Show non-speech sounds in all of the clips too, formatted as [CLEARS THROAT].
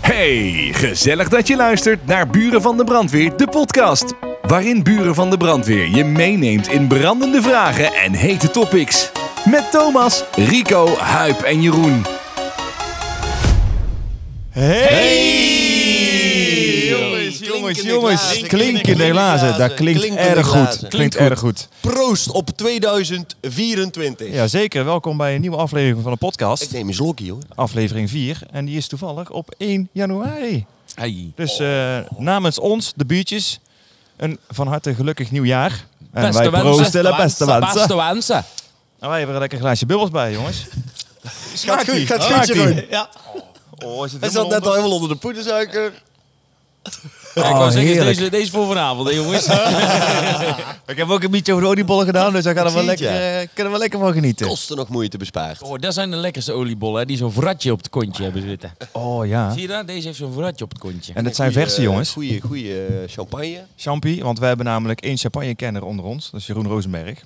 Hey, gezellig dat je luistert naar Buren van de Brandweer, de podcast. Waarin Buren van de Brandweer je meeneemt in brandende vragen en hete topics. Met Thomas, Rico, Huip en Jeroen. [LAUGHS] Hey! Jongens, jongens, jongens. Klinkende glazen. Dat klinkt Klinkende erg glazen. goed. Klinkt erg goed. Proost op 2024. Ja, zeker. Welkom bij een nieuwe aflevering van de Ik podcast. neem een slokje hoor. Aflevering 4. En die is toevallig op 1 januari. Dus eh, namens ons, de buurtjes, een van harte gelukkig nieuwjaar. En wij proosten de beste wensen. wensen. En wij hebben er lekker een glaasje bubbels bij, [LAUGHS] jongens. Gaat goed, gaat goed, Smaakt-ie. Jeroen. Ja. Oh, is het Hij zat net al helemaal onder de poedersuiker. ik wou zeggen, is Oh, heerlijk. deze, deze voor vanavond, hè, jongens. [LAUGHS] Ik heb ook een beetje over de oliebollen gedaan, dus daar gaan we wel zie het, lekker, eh, kunnen we lekker van genieten. Kosten nog moeite bespaard. Oh, dat zijn de lekkerste oliebollen, hè, die zo'n vratje op het kontje hebben zitten. Oh ja. Zie je dat? Deze heeft zo'n vratje op het kontje. En dat zijn verse, jongens. Goeie, goeie eh, champagne. Champie, want wij hebben namelijk één champagnekenner onder ons. Dat is Jeroen Rosenberg.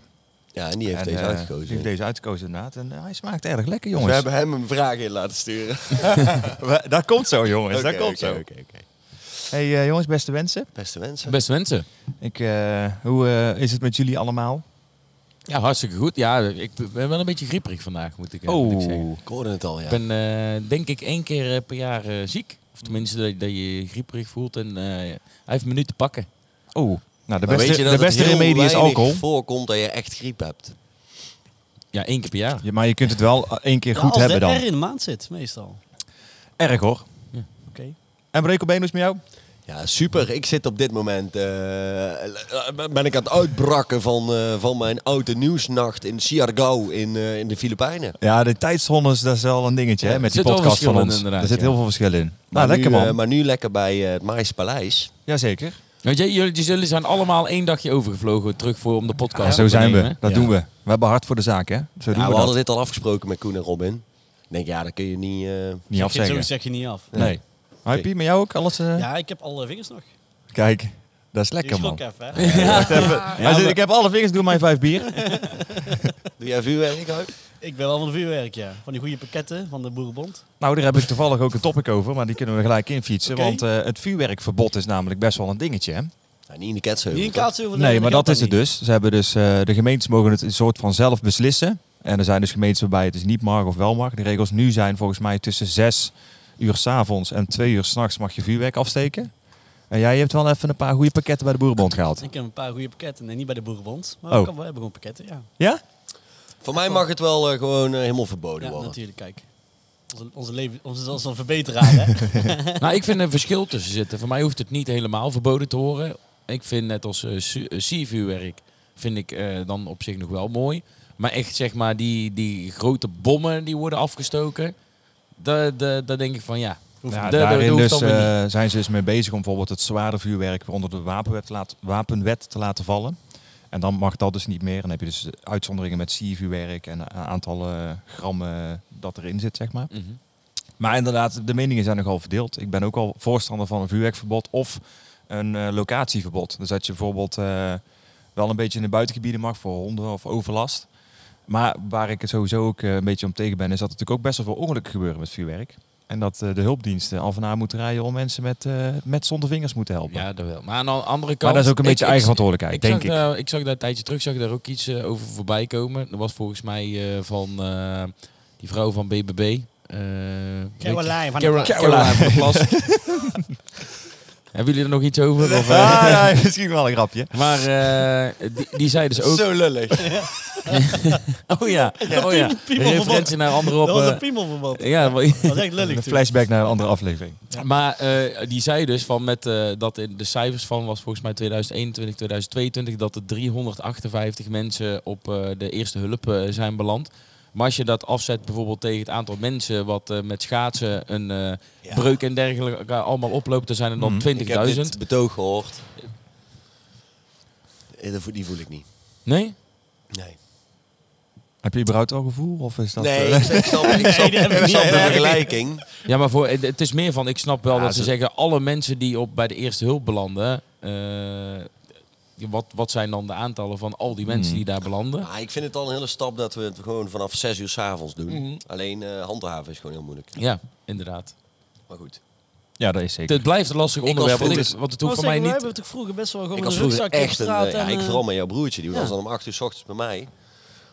Ja, en die heeft En, deze eh, uitgekozen. die heeft deze uitgekozen inderdaad. En eh, hij smaakt erg lekker, Dus jongens. we hebben hem een vraag in laten sturen. [LAUGHS] We- dat komt zo, jongens. Oké, dat komt oké, zo. oké, oké. Hey eh, jongens, beste wensen. Beste wensen. Beste mensen. Ik, eh, hoe eh, is het met jullie allemaal? Ja, hartstikke goed. Ja, ik ben wel een beetje grieperig vandaag, moet ik, eh, moet Oh. ik zeggen. Ik hoorde het al, ja. Ik ben eh, denk ik één keer eh, per jaar eh, ziek. Of tenminste dat, dat je je grieperig voelt en eh, hij heeft me nu te pakken. Oh, nou, de Maar beste, weet je dat de het beste heel remedie is weinig alcohol. voorkomt dat je echt griep hebt. Ja, één keer per jaar. Ja, maar je kunt het wel eh, één keer goed ja, als hebben dan. de R in de maand zit, meestal. Erg hoor. Oké. En Breco Benus met jou? Ja, super. Ik zit op dit moment. eh, eh, ben ik aan het uitbrakken van, eh, van mijn oude nieuwsnacht in Siargao in, eh, in de Filipijnen. Ja, de tijdzones, dat is wel een dingetje Ja, hè, met die er zit wel podcast van verschil in, ons. inderdaad, Er zit ja. heel veel verschil in. Nou, Maar lekker nu, man. eh, maar nu lekker bij eh, het Maispaleis. Jazeker. Weet je, jullie, jullie zijn allemaal één dagje overgevlogen terug voor, om de podcast Ja, op zo te zijn we. nemen. Dat Ja. doen we. We hebben hard voor de zaak, hè? Zo doen Ja, we we hadden dat. dit al afgesproken met Koen en Robin. Ik denk, ja, dat kun je niet... eh, [LAUGHS] Niet afzeggen. Zo zeg je niet af. Nee. Hypie, met jou ook alles? eh? Ja, ik heb alle vingers Ah, nog. Kijk, dat is Ik lekker man. schrok even, hè. [LAUGHS] Hij zegt, ik heb alle vingers, doe mij vijf bier. Doe jij vuurwerk uit? Ik ben wel van de vuurwerk, ja. Van die goede pakketten van de Boerenbond. Nou, daar heb ik toevallig ook een topic over, maar die kunnen we gelijk infietsen. Oké. Want eh, het vuurwerkverbod is namelijk best wel een dingetje. Hè? Nou, niet in de ketsen. Niet in Kaatsheuvel. Nee, maar dat is het niet. dus. Ze hebben dus eh, de gemeentes mogen het een soort van zelf beslissen. En er zijn dus gemeentes waarbij het dus niet mag of wel mag. De regels nu zijn volgens mij tussen zes uur s'avonds en twee uur s'nachts mag je vuurwerk afsteken. En jij hebt wel even een paar goede pakketten bij de Boerenbond gehaald. Ik heb een paar goede pakketten. Nee, niet bij de Boerenbond. Maar dus. Oh. we, kan, we hebben gewoon pakketten, ja. Ja? Voor mij mag het wel eh, gewoon eh, helemaal verboden Ja, worden. natuurlijk, kijk. Onze, onze leven onze, onze een verbeteraar, [LAUGHS] hè. Nou, ik vind er een verschil tussen zitten. Voor mij hoeft het niet helemaal verboden te horen. Ik vind net als eh, su- eh, siervuurwerk vind ik eh, dan op zich nog wel mooi. Maar echt zeg maar die, die grote bommen die worden afgestoken. Daar da, da denk ik van ja. Ja, Da- da- dat daarin hoeft dus, dan weer niet. eh, zijn ze dus mee bezig om bijvoorbeeld het zware vuurwerk onder de wapenwet te, laten, wapenwet te laten vallen. En dan mag dat dus niet meer. Dan heb je dus uitzonderingen met siervuurwerk en een aantal eh, grammen dat erin zit, zeg maar. Mhm. Maar inderdaad, de meningen zijn nogal verdeeld. Ik ben ook al voorstander van een vuurwerkverbod of een eh, locatieverbod. Dus dat je bijvoorbeeld eh, wel een beetje in de buitengebieden mag voor honden of overlast. Maar waar ik het sowieso ook eh, een beetje om tegen ben, is dat er natuurlijk ook best wel veel ongelukken gebeuren met vuurwerk. En dat eh, de hulpdiensten af en aan moeten rijden om mensen met, eh, met zonder vingers moeten helpen. Ja, dat wel. Maar aan de andere kant... maar dat is ook een ik- beetje ik- eigen verantwoordelijkheid, denk zag ik. Daar, ik zag daar een tijdje terug, zag ik daar ook iets eh, over voorbij komen. Dat was volgens mij eh, van eh, die vrouw van BBB. eh, Caroline van de Cara- Plas. Caroline van de Plas. Hebben jullie er nog iets over? Of, eh? Ah, ja, [LAUGHS] misschien wel een grapje. Maar eh, die, die zei dus ook... Zo lullig. [LAUGHS] Oh ja, oh ja. piemel referentie naar andere Dat was een op... [LAUGHS] piemelverbod. eh, ja, wel- [LAUGHS] Dat is echt lelijk, Een toen. flashback naar een andere aflevering. maar eh, die zei dus van met eh, dat in de cijfers van was volgens mij 2021, 2022 dat er 358 mensen op eh, de eerste hulp eh, zijn beland. Maar als je dat afzet bijvoorbeeld tegen het aantal mensen wat eh, met schaatsen een eh, Ja. breuk en dergelijke allemaal oploopt, dan zijn er dan Mhm. Ik heb 20.000. dit betoog gehoord. Eh, dat vo- Die voel ik niet. Nee? Nee. Heb je überhaupt al gevoel? Of is dat, nee, eh, [LAUGHS] ik ik snap, ik snap, die heb ik ik snap de niet. Nee, die heb ik vergelijking. Ja, maar voor, het- het is meer van, ik snap wel Ja, dat ze ze- zeggen, alle mensen die op, bij de eerste hulp belanden, eh, wat, wat zijn dan de aantallen van al die mensen Hmm. die daar belanden? Maar Nou, ik vind het al een hele stap dat we het gewoon vanaf 6 uur s'avonds doen. Mhm. Alleen eh, handhaven is gewoon heel moeilijk. Ja, inderdaad. Maar goed. Ja, dat is zeker. Het blijft een lastig was onderwerp, want, ik, vroeger- want het Maar hoeft voor mij Wij niet... hebben toch vroeger best wel gewoon Ik met was een vroeger rugzakje op echt een... straat. eh, ja, en, ik eh, vooral met jouw broertje. Die was ja. dan om acht uur s ochtends bij mij.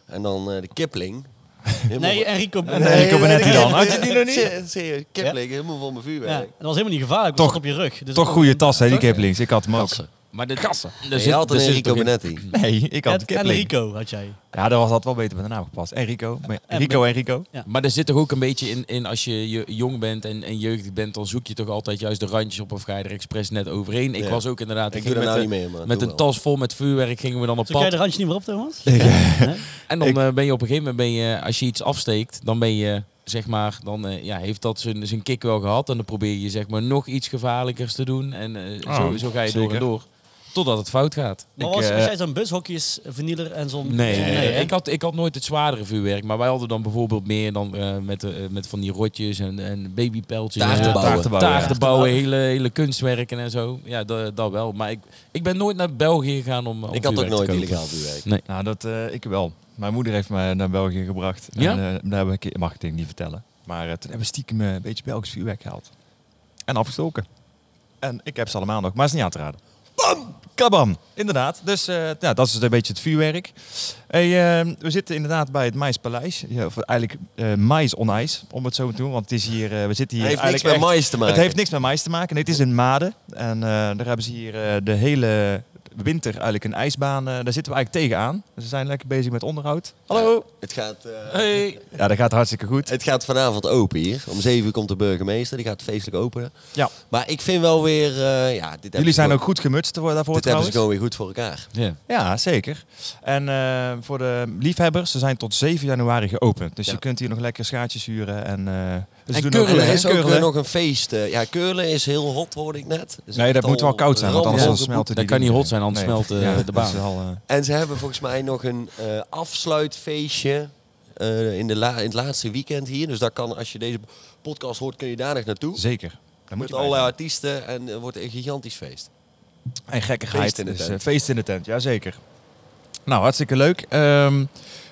En dan eh, de Kipling. [LAUGHS] Helemaal Nee, van- Enrico. nee, Enrico Benetti dan. Oh, Had je die nog niet? [LAUGHS] Serieus, serieus, Kipling, helemaal van mijn Ja, vuurwerk. dat was helemaal niet gevaarlijk. Toch- Toch op je rug. Dus Oh, Toch ook- goede tas, hè, die Kiplings. Ik had hem ook. Maar de kassen. En je had een dus Enrico Benetti. Nee, ik had de En Kipling. Enrico had jij. Ja, dat was dat wel beter bij de naam gepast. Enrico. Maar- En- Rico en Rico. Maar er zit toch ook een beetje in, in als je je- jong bent en, en jeugdig bent, dan zoek je toch altijd juist de randjes op of ga je er expres net overheen. Ik Ja. was ook inderdaad, Ik ging doe daar met, nou een- niet mee, maar met doe een wel. tas vol met vuurwerk gingen we dan op Zoek jij pad. de randje niet meer op, Thomas? En dan Ik- eh, ben je op een gegeven moment, ben je, als je iets afsteekt, dan ben je, zeg maar, dan eh, ja, heeft dat zijn zijn kick wel gehad. En dan probeer je, zeg maar, nog iets gevaarlijkers te doen. En eh, Oh, zo, zo ga je door zeker. en door. Totdat het fout gaat. Maar Ik, was, eh, was jij zo'n bushokjesvernieler en zo'n... Nee, nee, nee. hè? Ik, had, ik had nooit het zwaardere vuurwerk. Maar wij hadden dan bijvoorbeeld meer dan eh, met, eh, met van die rotjes en, en babypeltjes. en Taarten zo. bouwen. Taarten bouwen, Taarten ja. bouwen, hele, hele kunstwerken en zo. Ja, da- dat wel. Maar ik, ik ben nooit naar België gegaan om, om Ik had ook vuurwerk te nooit kopen. illegaal vuurwerk. Nou, dat eh, ik wel. Mijn moeder heeft me naar België gebracht. Ja? En, eh, daar heb ik, mag ik denk ik niet vertellen. Maar eh, toen hebben we stiekem eh, een beetje Belgisch vuurwerk gehaald. En afgestoken. En ik heb ze allemaal nog, maar is niet aan te raden. Bam! Kabam! Inderdaad. Dus eh, nou, dat is dus een beetje het vuurwerk. Hey, eh, we zitten inderdaad bij het Maispaleis. Ja, of eigenlijk eh mais on ijs, om het zo te doen. Want het is hier, eh, we zitten hier Hij heeft eigenlijk niks met echt- mais te maken. het heeft niks met mais te maken. Nee, het is in Maden. En eh, daar hebben ze hier eh, de hele winter eigenlijk een ijsbaan. eh, daar zitten we eigenlijk tegenaan. Ze zijn lekker bezig met onderhoud. Hallo! Het gaat, eh, Hey. Ja, dat gaat hartstikke goed. het gaat vanavond open hier. Om zeven uur komt de burgemeester. Die gaat feestelijk openen. Ja. Maar ik vind wel weer... eh, ja, dit hebben Jullie ze zijn gewoon- ook goed gemutst voor- daarvoor Dit trouwens. hebben ze gewoon weer goed voor elkaar. Ja. Ja, zeker. En eh, voor de liefhebbers, ze zijn tot 7 januari geopend. Dus Ja. je kunt hier nog lekker schaartjes huren. En, eh ze En doen curlen, ook- Keulen hè? is ook eh, Curlen. nog een feest. eh, ja, Keulen is heel hot, hoorde ik net. Dus Is Nee, echt dat moet wel al koud zijn, want ramp- anders Ja. dan Ja. smelt het Dat kan niet hot zijn, anders smelt, eh, de dat is baan. wel, eh, En ze hebben volgens mij nog een eh, afsluitfeestje eh, in, de la- in het laatste weekend hier. Dus daar kan, als je deze podcast hoort, kun je daar nog naartoe. zeker. Daar moet Met je bij allerlei zijn. artiesten en eh, wordt een gigantisch feest. En gekkigheid. Feest in de Dus, tent. eh, feest in de tent, jazeker. Nou, hartstikke leuk. Ehm,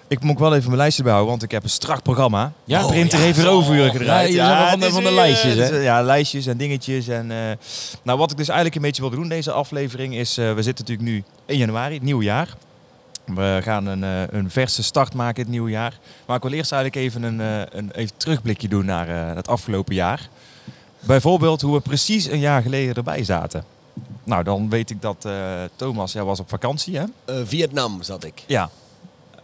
ik moet ook wel even mijn lijstje bouwen, want ik heb een strak programma. Ja? De printer Oh, ja. heeft weer overuren gedraaid. Ja, je bent wel van het de- is van de weer, lijstjes, het is, hè? eh, Ja, lijstjes en dingetjes. En, eh, nou, wat ik dus eigenlijk een beetje wil doen deze aflevering is... eh, we zitten natuurlijk nu 1 januari, het nieuwe jaar. We gaan een, eh, een verse start maken het nieuwe jaar. Maar ik wil eerst eigenlijk even een, eh, een even terugblikje doen naar eh, het afgelopen jaar. Bijvoorbeeld hoe we precies een jaar geleden erbij zaten. Nou, dan weet ik dat eh, Thomas jij was op vakantie, hè? Eh, Vietnam zat ik. Ja.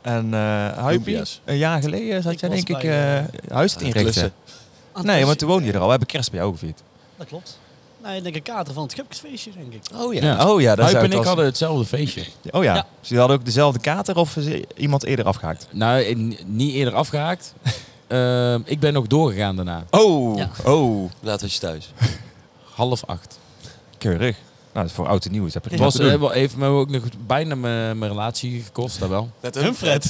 En eh Huipie, Lumpia's. een jaar geleden zat Ik jij was denk ik bij, eh huis te Ah, inrichten. klussen. Nee, want toen woonde je er al. We hebben kerst bij jou gevierd. Dat klopt. Nee, ik denk een kater van het Gupkesfeestje, denk ik. Oh ja. Ja. Oh ja, Huip zou en het ik als- hadden hetzelfde feestje. Oh ja. Ja. Ze hadden ook dezelfde kater of is iemand eerder afgehaakt? Nou, in- niet eerder afgehaakt. [LAUGHS] Ehm, ik ben nog doorgegaan daarna. Oh, Ja. oh. Laten we je thuis. Half acht. Keurig. Nou, dat is voor oud en nieuw. is Dat Het prima was, te doen. eh, wel- heeft me ook nog bijna mijn mijn relatie gekost, dat [LAUGHS] wel. Met Humfred.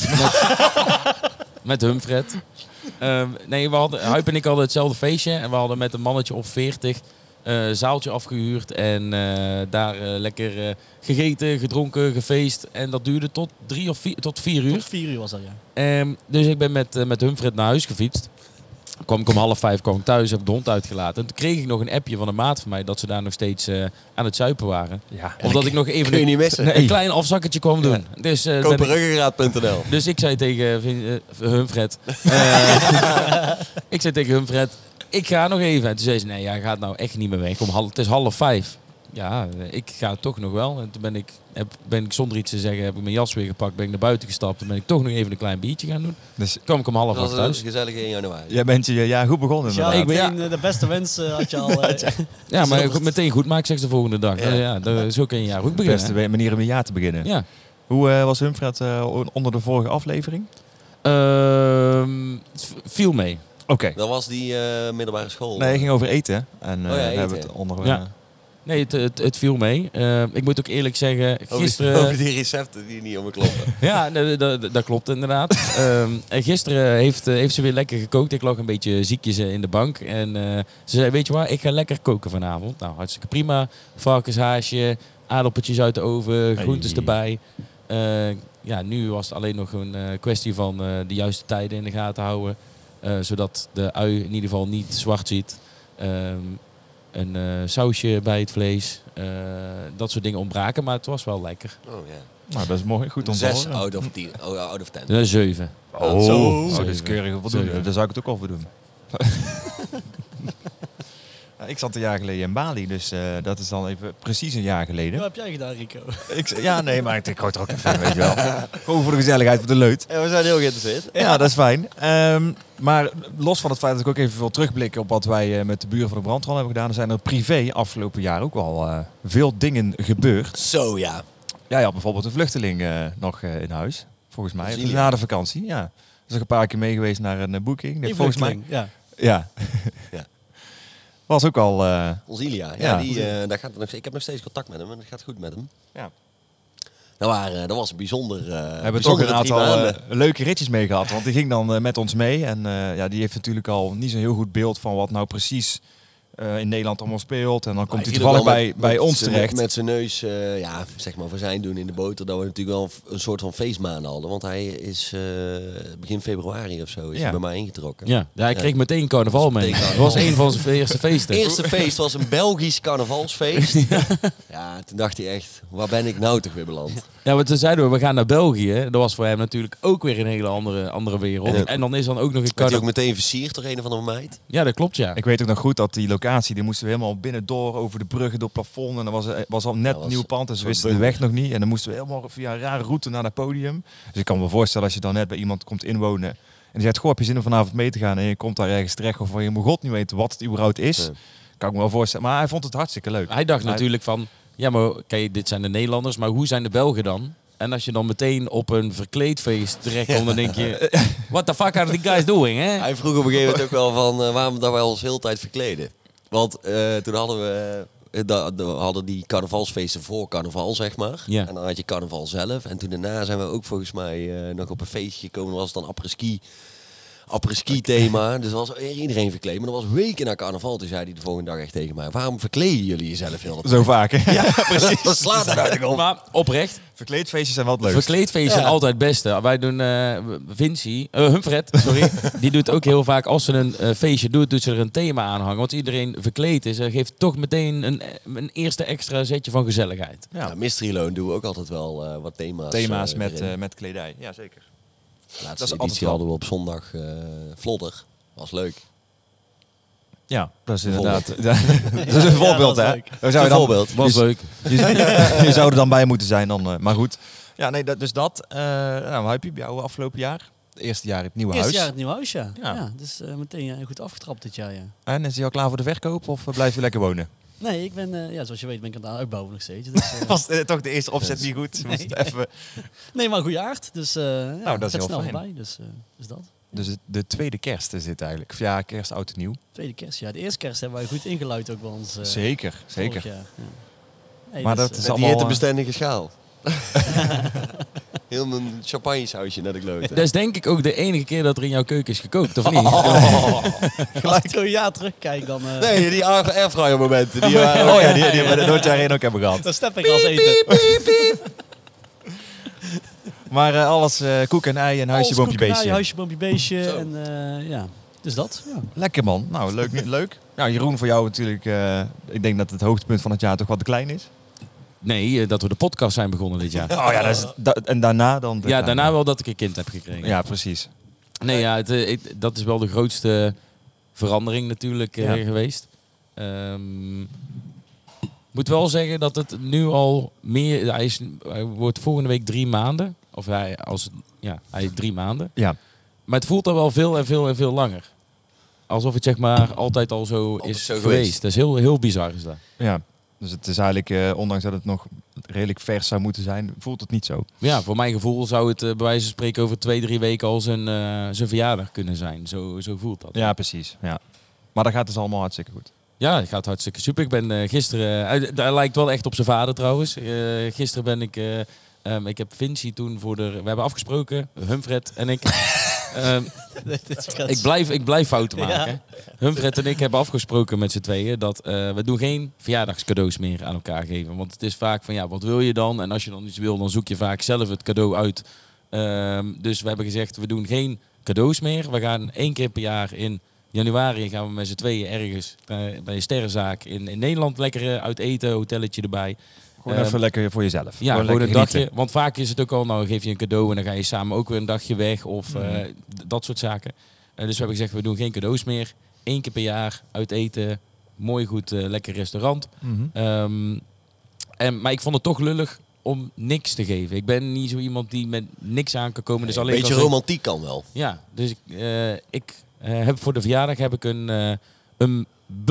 Met Humfred. Ehm, nee, we hadden, Huip en ik hadden hetzelfde feestje. En we hadden met een mannetje of veertig eh, zaaltje afgehuurd. En eh, daar eh, lekker eh, gegeten, gedronken, gefeest. En dat duurde tot drie of vier, tot vier uur. Tot vier uur was dat, ja. Ehm, dus ik ben met, eh, met Humfred naar huis gefietst. Kwam ik om half vijf kwam ik thuis, heb ik de hond uitgelaten. En toen kreeg ik nog een appje van een maat van mij dat ze daar nog steeds eh, aan het zuipen waren. Ja. Of dat ik nog even Eh, Kun je een, niet missen. Nee. [LAUGHS] een klein afzakketje kwam doen. Dus, eh, ben ik- Kopenruggengraad.nl dus ik zei tegen Vin- eh, Humfred. eh, [LAUGHS] [LAUGHS] ik zei tegen Humfred, ik ga nog even. En toen zei ze, nee, jij gaat nou echt niet meer weg. Om half, het is half vijf. Ja, eh, ik ga toch nog wel. En toen ben ik, heb, ben ik zonder iets te zeggen, heb ik mijn jas weer gepakt, ben ik naar buiten gestapt. Toen ben ik toch nog even een klein biertje gaan doen. Dus Toen kwam ik om half Dat acht was eh, een thuis. gezellige 1 januari. jij bent je ja, goed begonnen Ja, inderdaad. ik ben- ja. ben eh, de beste wensen had je al. eh, Ja, maar goed, meteen goed maak seks de volgende dag. Ja. Ja. Ja, dat- zo kun je een jaar ook De beginnen. beste we- manier om een jaar te beginnen. Ja. Hoe eh, was Humfred eh, onder de vorige aflevering? Ehm, het v- viel mee. Oké. Dat was die eh, middelbare school. Nee, het ging over eten. En eh, ja, we eten, hebben het ja. onder... Ja. eh, Nee, het, het, het viel mee. Ehm, ik moet ook eerlijk zeggen, Over, gisteren... over Oh, die recepten die niet om [LAUGHS] me kloppen. Ja, nee, dat, dat- dat klopt inderdaad. Ehm, en gisteren heeft, eh, heeft ze weer lekker gekookt. Ik lag een beetje ziekjes eh, in de bank. En eh, ze zei, weet je waar, ik ga lekker koken vanavond. Nou, hartstikke prima. Varkenshaasje, aardappeltjes uit de oven, groentes Hey. erbij. Eh, ja, nu was het alleen nog een eh, kwestie van eh, de juiste tijden in de gaten houden. eh, zodat de ui in ieder geval niet zwart ziet. Ehm, een eh, sausje bij het vlees. Eh, dat soort dingen ontbraken, maar het was wel lekker. Oh, ja. Nou, dat is mooi. Goed om te Zes horen. out of, tien, oh, out of ten. Eh, zeven. Oh, Zo. dat is keurig voldoende. Zeven. Daar zou ik het ook al voor doen. Nou, [LAUGHS] ik zat een jaar geleden in Bali, dus eh, dat is dan even precies een jaar Wat geleden. heb jij gedaan, Rico? Ik, z- ja, nee, maar ik ik hoor er ook even, weet je [LAUGHS] wel. Gewoon voor de gezelligheid, voor de leut. Ja, we zijn heel geïnteresseerd. Ja, dat is fijn. Ehm, maar los van het feit dat ik ook even wil terugblikken op wat wij eh, met de buren van de brandwal hebben gedaan, er zijn er privé afgelopen jaar ook wel eh, veel dingen gebeurd. Zo ja. Jij had bijvoorbeeld een vluchteling eh, nog eh, in huis, volgens mij. Brazilië. Na de vakantie, ja. Dus ik een paar keer mee geweest naar een eh, boeking. Die Die volgens mij vluchteling, Ja. Ja. Ja. Was ook al... eh, Ons Ilia. Ja, Ja. Die, eh, daar gaat het nog, ik heb nog steeds contact met hem en het gaat goed met hem. Ja. Nou, maar, eh, dat was een bijzonder. eh we hebben toch een bijzondere drie aantal eh, maanden. leuke ritjes mee gehad. Want die ging dan eh, met ons mee. En eh, ja, die heeft natuurlijk al niet zo'n heel goed beeld van wat nou precies eh, in Nederland allemaal speelt. En dan komt hij in ieder toevallig geval bij, met- bij met ons z'n- terecht. Met zijn neus, eh, ja, zeg maar, voor zijn doen in de boter. Dat we natuurlijk wel een soort van feestmaanden hadden. Want hij is eh, begin februari of zo is Ja. hij bij mij ingetrokken. Ja, ja hij kreeg meteen carnaval mee. meteen Dat carnaval. was een van zijn eerste feesten. Het eerste feest was een Belgisch [LAUGHS] carnavalsfeest. ja. toen dacht hij echt, waar ben ik nou toch weer beland? Ja, want toen zeiden we, we gaan naar België. Dat was voor hem natuurlijk ook weer een hele andere, andere wereld. Ja. En dan is dan ook nog een Werd hij ook carnaval. meteen versierd door een of andere meid? Ja, dat klopt ja. Ik weet ook nog goed dat die locatie, die moesten we helemaal binnendoor over de bruggen, door het plafond. En dat was, eh, was al net Dat was nieuw pand, dus we zo'n wisten de weg nog niet. En dan moesten we helemaal via een rare route naar het podium. Dus ik kan me voorstellen als je dan net bij iemand komt inwonen. En die zegt, goh, heb je zin om vanavond mee te gaan? En je komt daar ergens terecht of je mijn god niet weet wat het überhaupt is. Ja. Kan ik me wel voorstellen. Maar hij vond het hartstikke leuk. Hij dacht natuurlijk van, ja maar oké, dit zijn de Nederlanders, maar hoe zijn de Belgen dan? En als je dan meteen op een verkleedfeest terechtkomt, dan [LAUGHS] denk je, what the fuck are the guys doing, hè? Hij vroeg op een gegeven moment ook wel van eh, waarom dat wij ons heel de tijd verkleden. Want eh, toen hadden we, eh, da- da- we hadden die carnavalsfeesten voor carnaval, zeg maar. Ja. En dan had je carnaval zelf. En toen daarna zijn we ook volgens mij eh, nog op een feestje gekomen. Dan was het dan apres-ski. Apres-ski thema. Dus was iedereen verkleed. Maar dat was weken na carnaval. Toen zei hij de volgende dag echt tegen mij. Waarom verkleden jullie jezelf heel de tijd? Zo vaak. hè? precies. [LAUGHS] Dat slaat er eigenlijk op. Maar oprecht, [LAUGHS] Verkleedfeestjes zijn wel het leukst. verkleedfeesten zijn altijd het beste. Wij doen, eh Vinci, eh, Humfred, sorry, [LAUGHS] die doet ook heel vaak, als ze een eh, feestje doet, doet ze er een thema aan hangen. Want iedereen verkleed is, eh, geeft toch meteen een, eh, een eerste extra zetje van gezelligheid. Ja. Ja, Mystery Loan doen we ook altijd wel eh, wat thema's. Thema's eh, met, erin. eh, met kledij. Ja, zeker. Laatste dat is altijd editie wel- hadden we op zondag eh Vlodder. Was leuk. Ja, dat is inderdaad. Bijvoorbeeld. [LAUGHS] dat is een Ja, voorbeeld, dat is hè? leuk. Daar zou je dan- Bijvoorbeeld. eh, Was leuk. Je, je zou [LAUGHS] er dan bij moeten zijn, dan, eh, maar goed. Ja, nee, dat, dus dat. eh nou, wat heb je bij jou afgelopen jaar? Het eerste jaar in het nieuwe Eerste huis. jaar het nieuwe huis, ja. Ja. ja. dus eh, meteen eh, goed afgetrapt dit jaar, ja. En is hij al klaar voor de verkoop of eh, blijf je lekker wonen? Nee, ik ben, eh, ja, zoals je weet, ben ik aan het uitbouwen nog steeds. Dus, [LAUGHS] eh, Was eh, toch de eerste opzet niet goed? Moest het even. nee, maar goede aard. Dus eh nou, dat is heel snel fijn. voorbij. Dus eh, is dat. Dus het- de tweede kerst is dit eigenlijk. Of ja, kerst, oud en nieuw. Tweede kerst, ja. De eerste kerst hebben wij goed ingeluid ook bij ons. eh, zeker, vorig zeker. jaar, ja. Nee, Maar dus, dat eh, is Met allemaal, die eh, hittebestendige schaal. Heel een champagne sausje naar de kloten. [LAUGHS] Dat is denk ik ook de enige keer dat er in jouw keuken is gekookt, of niet? [LAUGHS] [LAUGHS] Als ik zo'n jaar terugkijk, dan... eh Nee, die air- airfryer momenten. Die waren Oh [LAUGHS] ja, die, die hebben we nooit daarin ook hebben gehad. Dan step ik als eten. Maar eh, alles eh, koek en ei en huisje, Als boompje, koekenaar, beestje. Huisje, boompje, beestje. Zo. En eh, ja, dus dat. Ja. Lekker man. Nou, leuk. [LAUGHS] leuk. Nou, Jeroen, voor jou natuurlijk. eh, ik denk dat het hoogtepunt van het jaar toch wat te klein is. Nee, eh, dat we de podcast zijn begonnen dit jaar. Oh ja, dat is, da- en daarna dan. de Ja, kleine. daarna wel dat ik een kind heb gekregen. Ja, precies. Nee, ja, het, eh, ik- dat is wel de grootste verandering natuurlijk eh, Ja. geweest. Ehm, moet wel zeggen dat het nu al meer... Hij, is, hij wordt volgende week drie maanden. Of hij, als, ja, hij is drie maanden. Ja. Maar het voelt al wel veel en veel en veel langer. Alsof het zeg maar altijd al zo Altijd is zo geweest. geweest. Dat is heel, heel bizar is dat. Ja, dus het is eigenlijk, eh, ondanks dat het nog redelijk vers zou moeten zijn, voelt het niet zo. Ja, voor mijn gevoel zou het eh, bij wijze van spreken over twee, drie weken al zijn, eh, zijn verjaardag kunnen zijn. Zo, zo voelt dat. Ja, precies. Ja. Maar dat gaat dus allemaal hartstikke goed. Ja, het gaat hartstikke super. Ik ben eh, gisteren... eh, hij- hij lijkt wel echt op zijn vader trouwens. Eh, gisteren ben ik... eh, ehm, ik heb Vinci toen voor de... We hebben afgesproken, Humfred en ik. [LAUGHS] ehm, [LAUGHS] Dit is ik, kans. blijf, ik blijf fouten maken. Humfred en ik hebben afgesproken met z'n tweeën... dat eh, we doen geen verjaardagscadeaus meer aan elkaar geven. Want het is vaak van, ja, wat wil je dan? En als je dan iets wil, dan zoek je vaak zelf het cadeau uit. Ehm, dus we hebben gezegd, we doen geen cadeaus meer. We gaan één keer per jaar in Januari gaan we met z'n tweeën ergens eh, bij een sterrenzaak in, in Nederland lekker eh, uit eten, hotelletje erbij. Gewoon Ehm, even lekker voor jezelf. Ja, gewoon, lekker een genieten. dagje. Want vaak is het ook al, nou geef je een cadeau en dan ga je samen ook weer een dagje weg of eh, d- dat soort zaken. Eh, dus we hebben gezegd, we doen geen cadeaus meer. Eén keer per jaar uit eten, mooi goed, eh, lekker restaurant. Mhm. Ehm, en, maar ik vond het toch lullig om niks te geven. Ik ben niet zo iemand die met niks aan kan komen. Dus alleen beetje als ik- romantiek kan wel. Ja, dus ik, eh, ik eh, heb voor de verjaardag heb ik een, eh een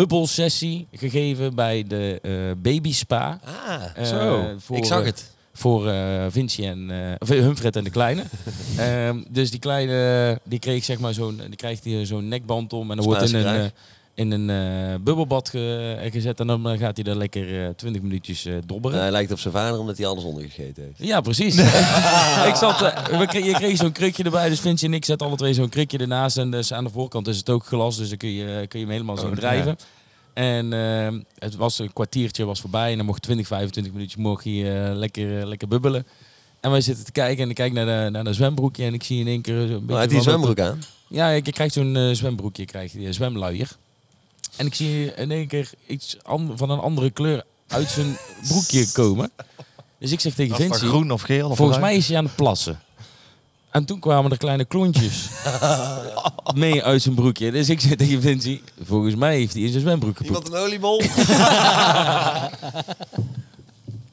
bubbelsessie gegeven bij de eh baby spa. Ah, Eh, Zo, voor, ik zag het. Voor eh, Vinci en eh, of, eh, Humfred en de kleine. Ehm, dus die kleine die kreeg zeg maar zo'n die krijgt hier zo'n nekband om en dan wordt in een, Spaanse eh, in een eh, bubbelbad ge- eh, gezet en dan eh, gaat hij daar lekker twintig minuutjes eh, dobberen. hij lijkt op zijn vader omdat hij alles ondergegeten heeft. Ja, [LAUGHS] precies. ik zat, eh, we kreeg, je kreeg zo'n krukje erbij, dus Vinci en ik zetten alle twee zo'n krukje ernaast. En dus aan de voorkant is het ook glas, dus dan kun je, eh, kun je hem helemaal zo Oh, drijven. En ehm, het was een kwartiertje was voorbij en dan mocht 20, 25 minuutjes mocht je, eh, lekker, eh, lekker bubbelen. En wij zitten te kijken en ik kijk naar de, naar de zwembroekje en ik zie in één keer... Een Maar beetje hij heeft Oh, die van dat- zwembroek aan. ja, ik ik krijg zo'n eh, zwembroekje, krijg je, een zwemluier. En ik zie in één keer iets an- van een andere kleur uit zijn [LAUGHS] broekje komen. Dus ik zeg tegen Was het Vinci, groen of geel? Of volgens oranje? mij is hij aan het plassen. En toen kwamen er kleine klontjes mee uit zijn broekje. Dus ik zeg tegen Vinci, volgens mij heeft hij in zijn zwembroek gepoept. Iemand een oliebol?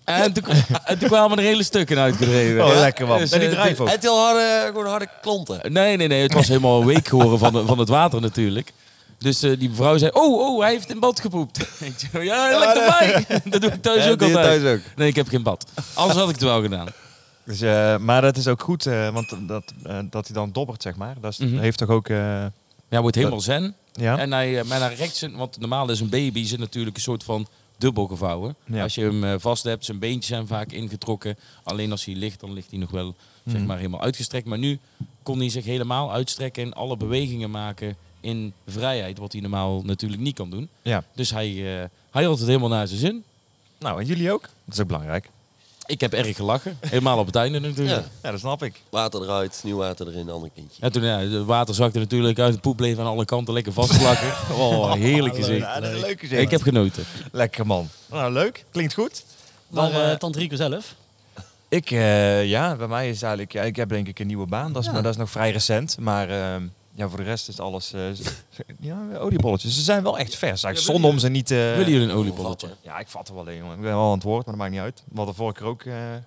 En toen, en toen kwamen er hele stukken uitgedreven. Oh, lekker man. Dus, en die eh, drijf ook. Het heel harde, gewoon harde klonten. Nee, nee, nee. Het was helemaal week geworden van, de- van het water natuurlijk. Dus eh, die mevrouw zei, oh, oh, hij heeft in bad gepoept. [LAUGHS] Ik zei, ja, dat lijkt erbij. [LAUGHS] Dat doe ik thuis Ja, ook die altijd. thuis ook. Nee, ik heb geen bad. Anders had ik het wel gedaan. Dus, eh, maar dat is ook goed, eh, want dat, eh, dat hij dan dobbert, zeg maar. Dat is- Mhm. heeft toch ook... eh, Ja, wordt helemaal zen. ja? En hij, eh, maar naar rechts, in- want normaal is een baby zit natuurlijk een soort van dubbel gevouwen. Ja. Als je hem eh, vast hebt, zijn beentjes zijn vaak ingetrokken. Alleen als hij ligt, dan ligt hij nog wel zeg Hmm. maar, helemaal uitgestrekt. Maar nu kon hij zich helemaal uitstrekken en alle bewegingen maken in vrijheid. Wat hij normaal natuurlijk niet kan doen. ja. Dus hij, eh, hij had het helemaal naar zijn zin. Nou, en jullie ook? Dat is ook belangrijk. Ik heb erg gelachen. Helemaal op het einde natuurlijk. Ja. Ja. Ja, dat snap ik. Water eruit, nieuw water erin, ander kindje. toen, ja, het water zakte natuurlijk uit. Het poep bleef aan alle kanten lekker vastplakken. [LAUGHS] Oh, heerlijk gezicht. Ja, dat is leuk gezicht. Ik heb genoten. Lekker man. Nou, leuk. Klinkt goed. Maar Dan, eh, eh Tante Rico zelf? Ik, eh, ja, bij mij is eigenlijk, ja, ik heb denk ik een nieuwe baan, dat is, maar dat is nog vrij recent. Maar ehm, ja, voor de rest is alles, eh, z- [LAUGHS] ja, oliebolletjes. Ze zijn wel echt vers. Eigenlijk zonde om ze niet... eh, Willen jullie een oliebolletje? Ja, ik vat er wel in, jongen. Ik ben wel aan het woord, maar dat maakt niet uit. We hadden vorige keer ook... eh Kijk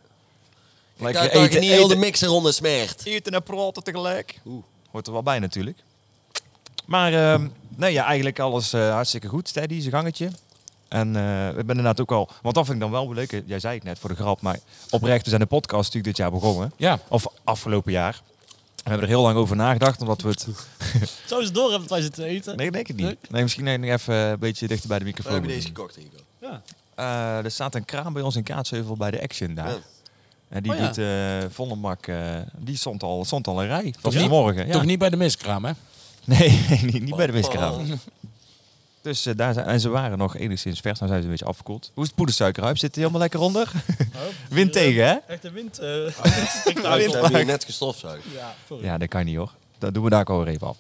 lekker uit dat je eten, niet heel de eten, mixer onder smert. eten en praten tegelijk. Oeh. Hoort er wel bij natuurlijk. Maar ehm, nee, ja, eigenlijk alles eh, hartstikke goed. Steady, zijn gangetje. En eh ik ben inderdaad ook al... Want dat vind ik dan wel leuk. Jij zei het net voor de grap, maar oprecht, we zijn de podcast natuurlijk dit jaar begonnen. Ja. Of afgelopen jaar. We hebben er heel lang over nagedacht, omdat we het... Zo is het door hebben dat wij zitten eten. Nee, denk ik niet. Nee, misschien nog even een beetje dichter bij de We microfoon. hebben deze gekocht, Rico. Eh, er staat een kraam bij ons in Kaatsheuvel bij de Action daar. Ja. En die Oh ja. doet eh Vondelmak, eh, die stond al, stond al een rij. Van Toch niet- vanmorgen. Ja. Toch niet bij de miskraam, hè? [LAUGHS] Nee, niet, niet bij de Oh. miskraam. Dus eh, daar zijn, en ze waren nog enigszins vers, nou zijn ze een beetje afgekoeld. Hoe is het poedersuikerhuip? Zit er helemaal lekker onder? Wind tegen, hè? Oh, Echt de wind. [LAUGHS] Uh, Ja, we hebben hier net gestofzuigd. ja, sorry. Ja, dat kan niet hoor. Dat doen we daar ook alweer even af.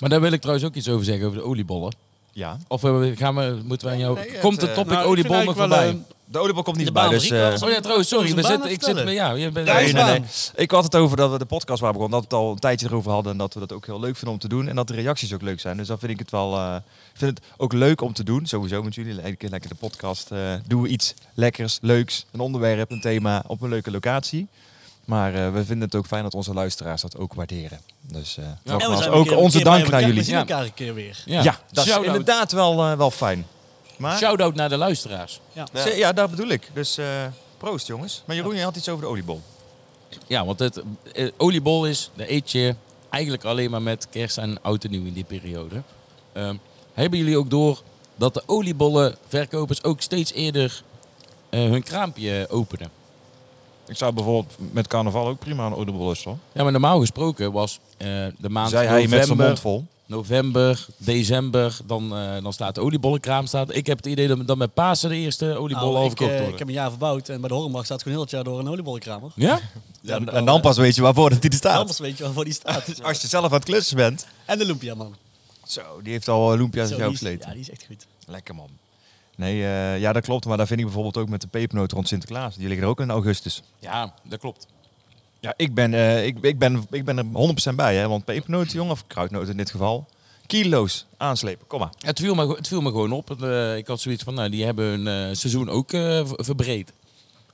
Maar daar wil ik trouwens ook iets over zeggen, over de oliebollen. Ja. Of eh, gaan we, moeten we aan jou... Nee, het, Komt de eh, topic nou, ik vind oliebollen eigenlijk wel, voorbij? De oliebol komt niet De bij, baan dus... van Rico eh, was- oh ja, trouwens, sorry. Onze We baan zitten, ik zit... vertellen. Ja, je bent... Nee, is nee, waar. nee. Ik had het over dat we de podcast waren begonnen, dat we het al een tijdje erover hadden en dat we dat ook heel leuk vinden om te doen en dat de reacties ook leuk zijn. Dus dan vind ik het wel, eh, ik vind het ook leuk om te doen, sowieso met jullie. Lekker, lekker de podcast, eh, doen we iets lekkers, leuks, een onderwerp, een thema op een leuke locatie. Maar eh, we vinden het ook fijn dat onze luisteraars dat ook waarderen. Dus eh, nogmaals, zijn ook onze dank naar jullie. We zien Ja. elkaar een keer weer. Ja, dat is Shout-out. inderdaad wel, eh, wel fijn. Maar ja. Shout-out naar de luisteraars. Ja. ja, daar bedoel ik. Dus eh, proost jongens. Maar Jeroen, je had iets over de oliebol. Ja, want het eh, oliebol is, de eet je eigenlijk alleen maar met kerst en oud en nieuw in die periode. Ehm, hebben jullie ook door dat de oliebollenverkopers ook steeds eerder eh, hun kraampje openen? Ik zou bijvoorbeeld met carnaval ook prima een oliebol is, hoor. Ja, maar normaal gesproken was eh, de maand Zei hij met zijn november, mond vol. november, december, dan, eh, dan staat de oliebollenkraam staat. Ik heb het idee dat, dat met Pasen de eerste oliebollen Nou, al ik, eh, verkocht worden. ik heb een jaar verbouwd en bij de Hornbach staat gewoon heel het jaar door een oliebollenkramer. Ja? Ja, en dan pas weet je waarvoor dat hij er staat. Anders weet je waarvoor die staat. Als je zelf aan het klussen bent. En de Lumpia man. Zo, die heeft al eh, Loempia's uit Zo, die jou is- versleten. Ja, die is echt goed. Lekker man. Nee, eh, ja, dat klopt. Maar daar vind ik bijvoorbeeld ook met de pepernoten rond Sinterklaas. Die liggen er ook in augustus. [LAUGHS] Ja, dat klopt. Ja, ik ben, eh, ik, ik ben, ik ben er 100% bij. Hè, want pepernoten, jongen, of kruidnoten in dit geval. Kilo's aanslepen. Kom maar. Ja, het, viel me, het viel me gewoon op. Het, eh, ik had zoiets van, nou, die hebben hun eh, seizoen ook eh, v- verbreed.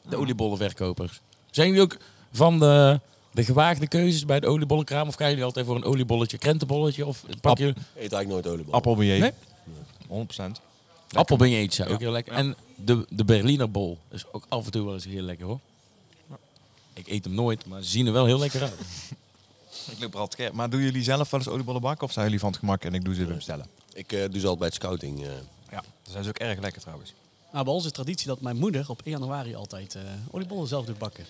De oliebollenverkopers. Zijn jullie ook van de, de gewaagde keuzes bij de oliebollenkraam? Of gaan jullie altijd voor een oliebolletje, krentenbolletje? Of pak je Eet eigenlijk nooit oliebollen. Appelbeer. Nee? 100%. appelbeignet? Ja, ook heel lekker. En de, de Berliner bol is ook af en toe wel eens heel lekker, hoor. Ik eet hem nooit, maar ze zien er wel heel lekker uit. Ik loop er altijd keer. Maar doen jullie zelf wel eens oliebollen bakken? Of zijn jullie van het gemak en ik doe ze weer bestellen? Ik eh, doe ze altijd bij het scouting. eh. Ja, dat zijn ze ook erg lekker trouwens. Nou, bij ons is traditie dat mijn moeder op 1 januari altijd eh, oliebollen zelf doet bakken.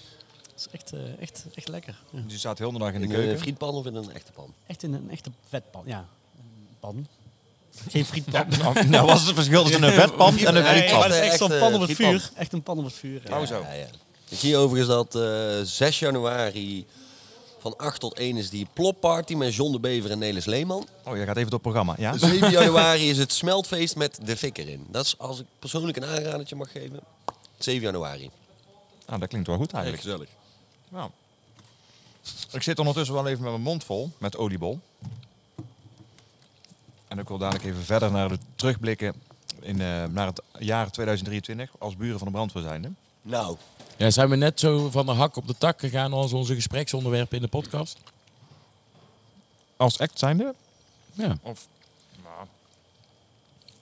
Dat is echt, eh, echt, echt lekker. Ja. Dus je staat heel de dag in de in keuken. een frietpan of in een echte pan? Echt in een echte vetpan. Ja, een pan. Geen [LAUGHS] frietpan. Nou, nou was het verschil tussen [LAUGHS] een vetpan en een Nee, Nee, maar frietpan. dat is echt zo'n Echt, pan eh, op het frietpan. vuur. Echt een pan op het vuur. ja. Oh, zo. Ja, ja. Ik zie overigens dat eh, 6 januari van 8 tot 1 is die plopparty met John de Bever en Nelis [LAUGHS] Leeman. Oh, je gaat even door het programma. Ja? 7 januari is het smeltfeest met de fik erin. Dat is als ik persoonlijk een aanradertje mag geven. 7 januari. Nou, dat klinkt wel goed Heel eigenlijk. gezellig. Nou. Ik zit ondertussen wel even met mijn mond vol met oliebol. En ik wil dadelijk even verder naar de terugblikken in, eh, naar het jaar 2023 als buren van de brandweer zijnde. Nou, Ja, zijn we net zo van de hak op de tak gegaan als onze gespreksonderwerpen in de podcast? Als act zijnde? Ja. Of,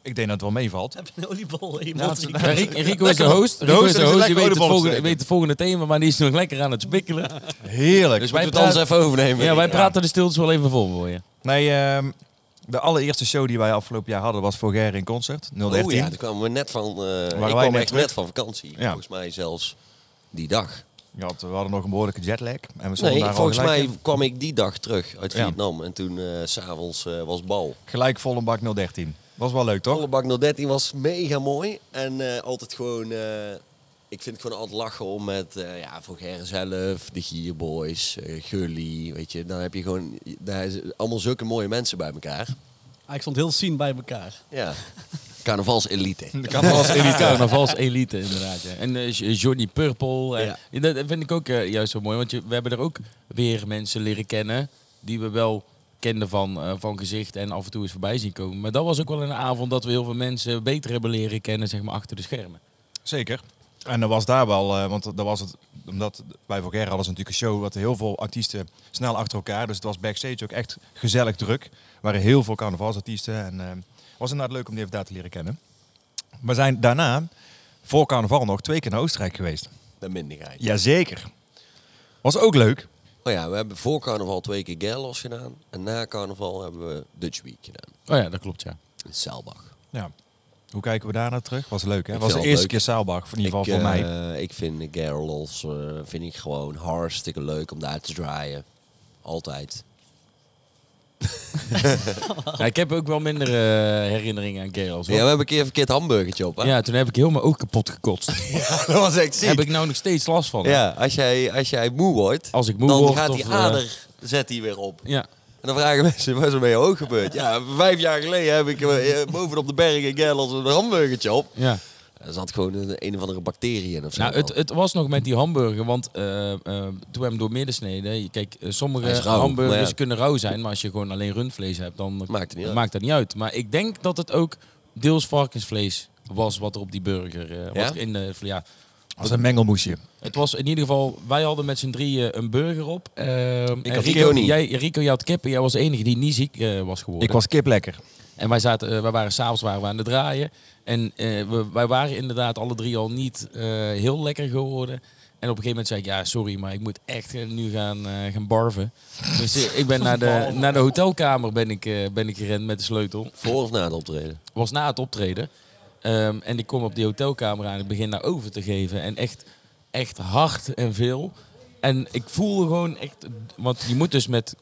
ik denk dat het wel meevalt. Heb je een oliebol in je Ja, mond? het- Ja, Rico- Rico is de kan. host. De Rico host is de heeft lekker host. Die weet het, oliebollen volgende, te weet het volgende thema, maar die is nog lekker aan het [LAUGHS] spikkelen. Heerlijk. dus wij wij moeten we het praten- anders even overnemen. Ja, wij praten de stiltes wel even vol voor je. Nee, ehm, de allereerste show die wij afgelopen jaar hadden was voor Ger in concert, 013. Oh ja, daar kwamen we net van. eh, ik wij kwam net echt terug? net van vakantie. Ja. Volgens mij zelfs die dag. Ja, want we hadden nog een behoorlijke jetlag. En we stonden Nee, daar volgens al gelijk, mij kwam ik die dag terug uit Ja. Vietnam. En toen eh, s s'avonds was bal. gelijk volle bak 013. Was wel leuk, toch? Volle bak 013 was mega mooi. En eh, altijd gewoon... eh, ik vind het gewoon altijd lachen om met eh ja, Vulgaire zelf, de Gierboys, eh Gully, weet je. Dan heb je gewoon... Daar is allemaal zulke mooie mensen bij elkaar. Ah, ik stond heel zien bij elkaar. [LAUGHS] Ja. Carnavalselite. De carnaval is elite. Carnavals elite, inderdaad. ja. En eh, Johnny Purple. en- Ja. Ja, Dat dat vind ik ook eh, juist zo mooi, want je, we hebben er ook weer mensen leren kennen die we wel kenden van, eh, van gezicht en af en toe eens voorbij zien komen. Maar dat was ook wel een avond dat we heel veel mensen beter hebben leren kennen, zeg maar, achter de schermen. Zeker. En dat was daar wel, eh, want dat was het, omdat wij voor Ger hadden ze natuurlijk een show, wat heel veel artiesten snel achter elkaar. Dus het was backstage ook echt gezellig druk. Er waren heel veel carnavalsartiesten en eh was inderdaad leuk om die even daar te leren kennen. We zijn daarna, voor carnaval nog, twee keer naar Oostenrijk geweest. De minderheid. Jazeker. Was ook leuk. Oh ja, we hebben voor carnaval twee keer Gerlos gedaan. En na carnaval hebben we Dutch Week gedaan. Oh ja, dat klopt, ja. In Saalbach. Ja. Hoe kijken we daarna terug? Was leuk, hè? Ik was vind de het eerste leuk. keer Saalbach, in ieder geval voor eh, mij. Ik vind Gerlos eh, vind ik gewoon hartstikke leuk om daar te draaien. Altijd. Ja, ik heb ook wel minder eh, herinneringen aan Gerals. Ja, we hebben een keer een verkeerd hamburgertje op. Hè? Ja, toen heb ik helemaal ook kapot gekotst. [LAUGHS] dat was echt ziek. Heb ik nou nog steeds last van. Ja, als jij, als jij moe wordt, Als ik moe dan word gaat of, die eh, ader zet die weer op. Ja. En dan vragen [LAUGHS] mensen, wat is er mee hoog gebeurd? Ja, vijf jaar geleden heb ik eh, eh, bovenop de berg in Gerlos een hamburgertje op. ja. Er zat gewoon een, een of andere bacterie in of zo. Nou, het, het was nog met die hamburger, want eh, eh, toen we hem door midden sneden... je- Kijk, eh, Hij sommige is rauw, maar hamburgers ja. kunnen rauw zijn, maar als je gewoon alleen rundvlees hebt, dan Maakt het niet uit. maakt dat niet uit. Maar ik denk dat het ook deels varkensvlees was wat er op die burger... eh, Ja? wat er in de, ja, Was een mengelmoesje. Het was in ieder geval, wij hadden met z'n drieën een burger op. Ehm, en had Rico, kip niet. Jij, Rico, jij had kip en jij was de enige die niet ziek eh, was geworden. Ik was kip lekker. En wij, zaten, eh, wij waren s'avonds waren we aan het draaien. En eh, we, wij waren inderdaad alle drie al niet eh, heel lekker geworden. En op een gegeven moment zei ik, ja, sorry, maar ik moet echt eh, nu gaan, eh, gaan barven. Dus eh, ik ben naar de, naar de hotelkamer ben ik, eh, ben ik gerend met de sleutel. Voor of na het optreden? Was na het optreden. Ehm, en ik kom op die hotelkamer aan. Ik begin daar over te geven. En echt, echt hard en veel. En ik voelde gewoon echt... Want je moet dus met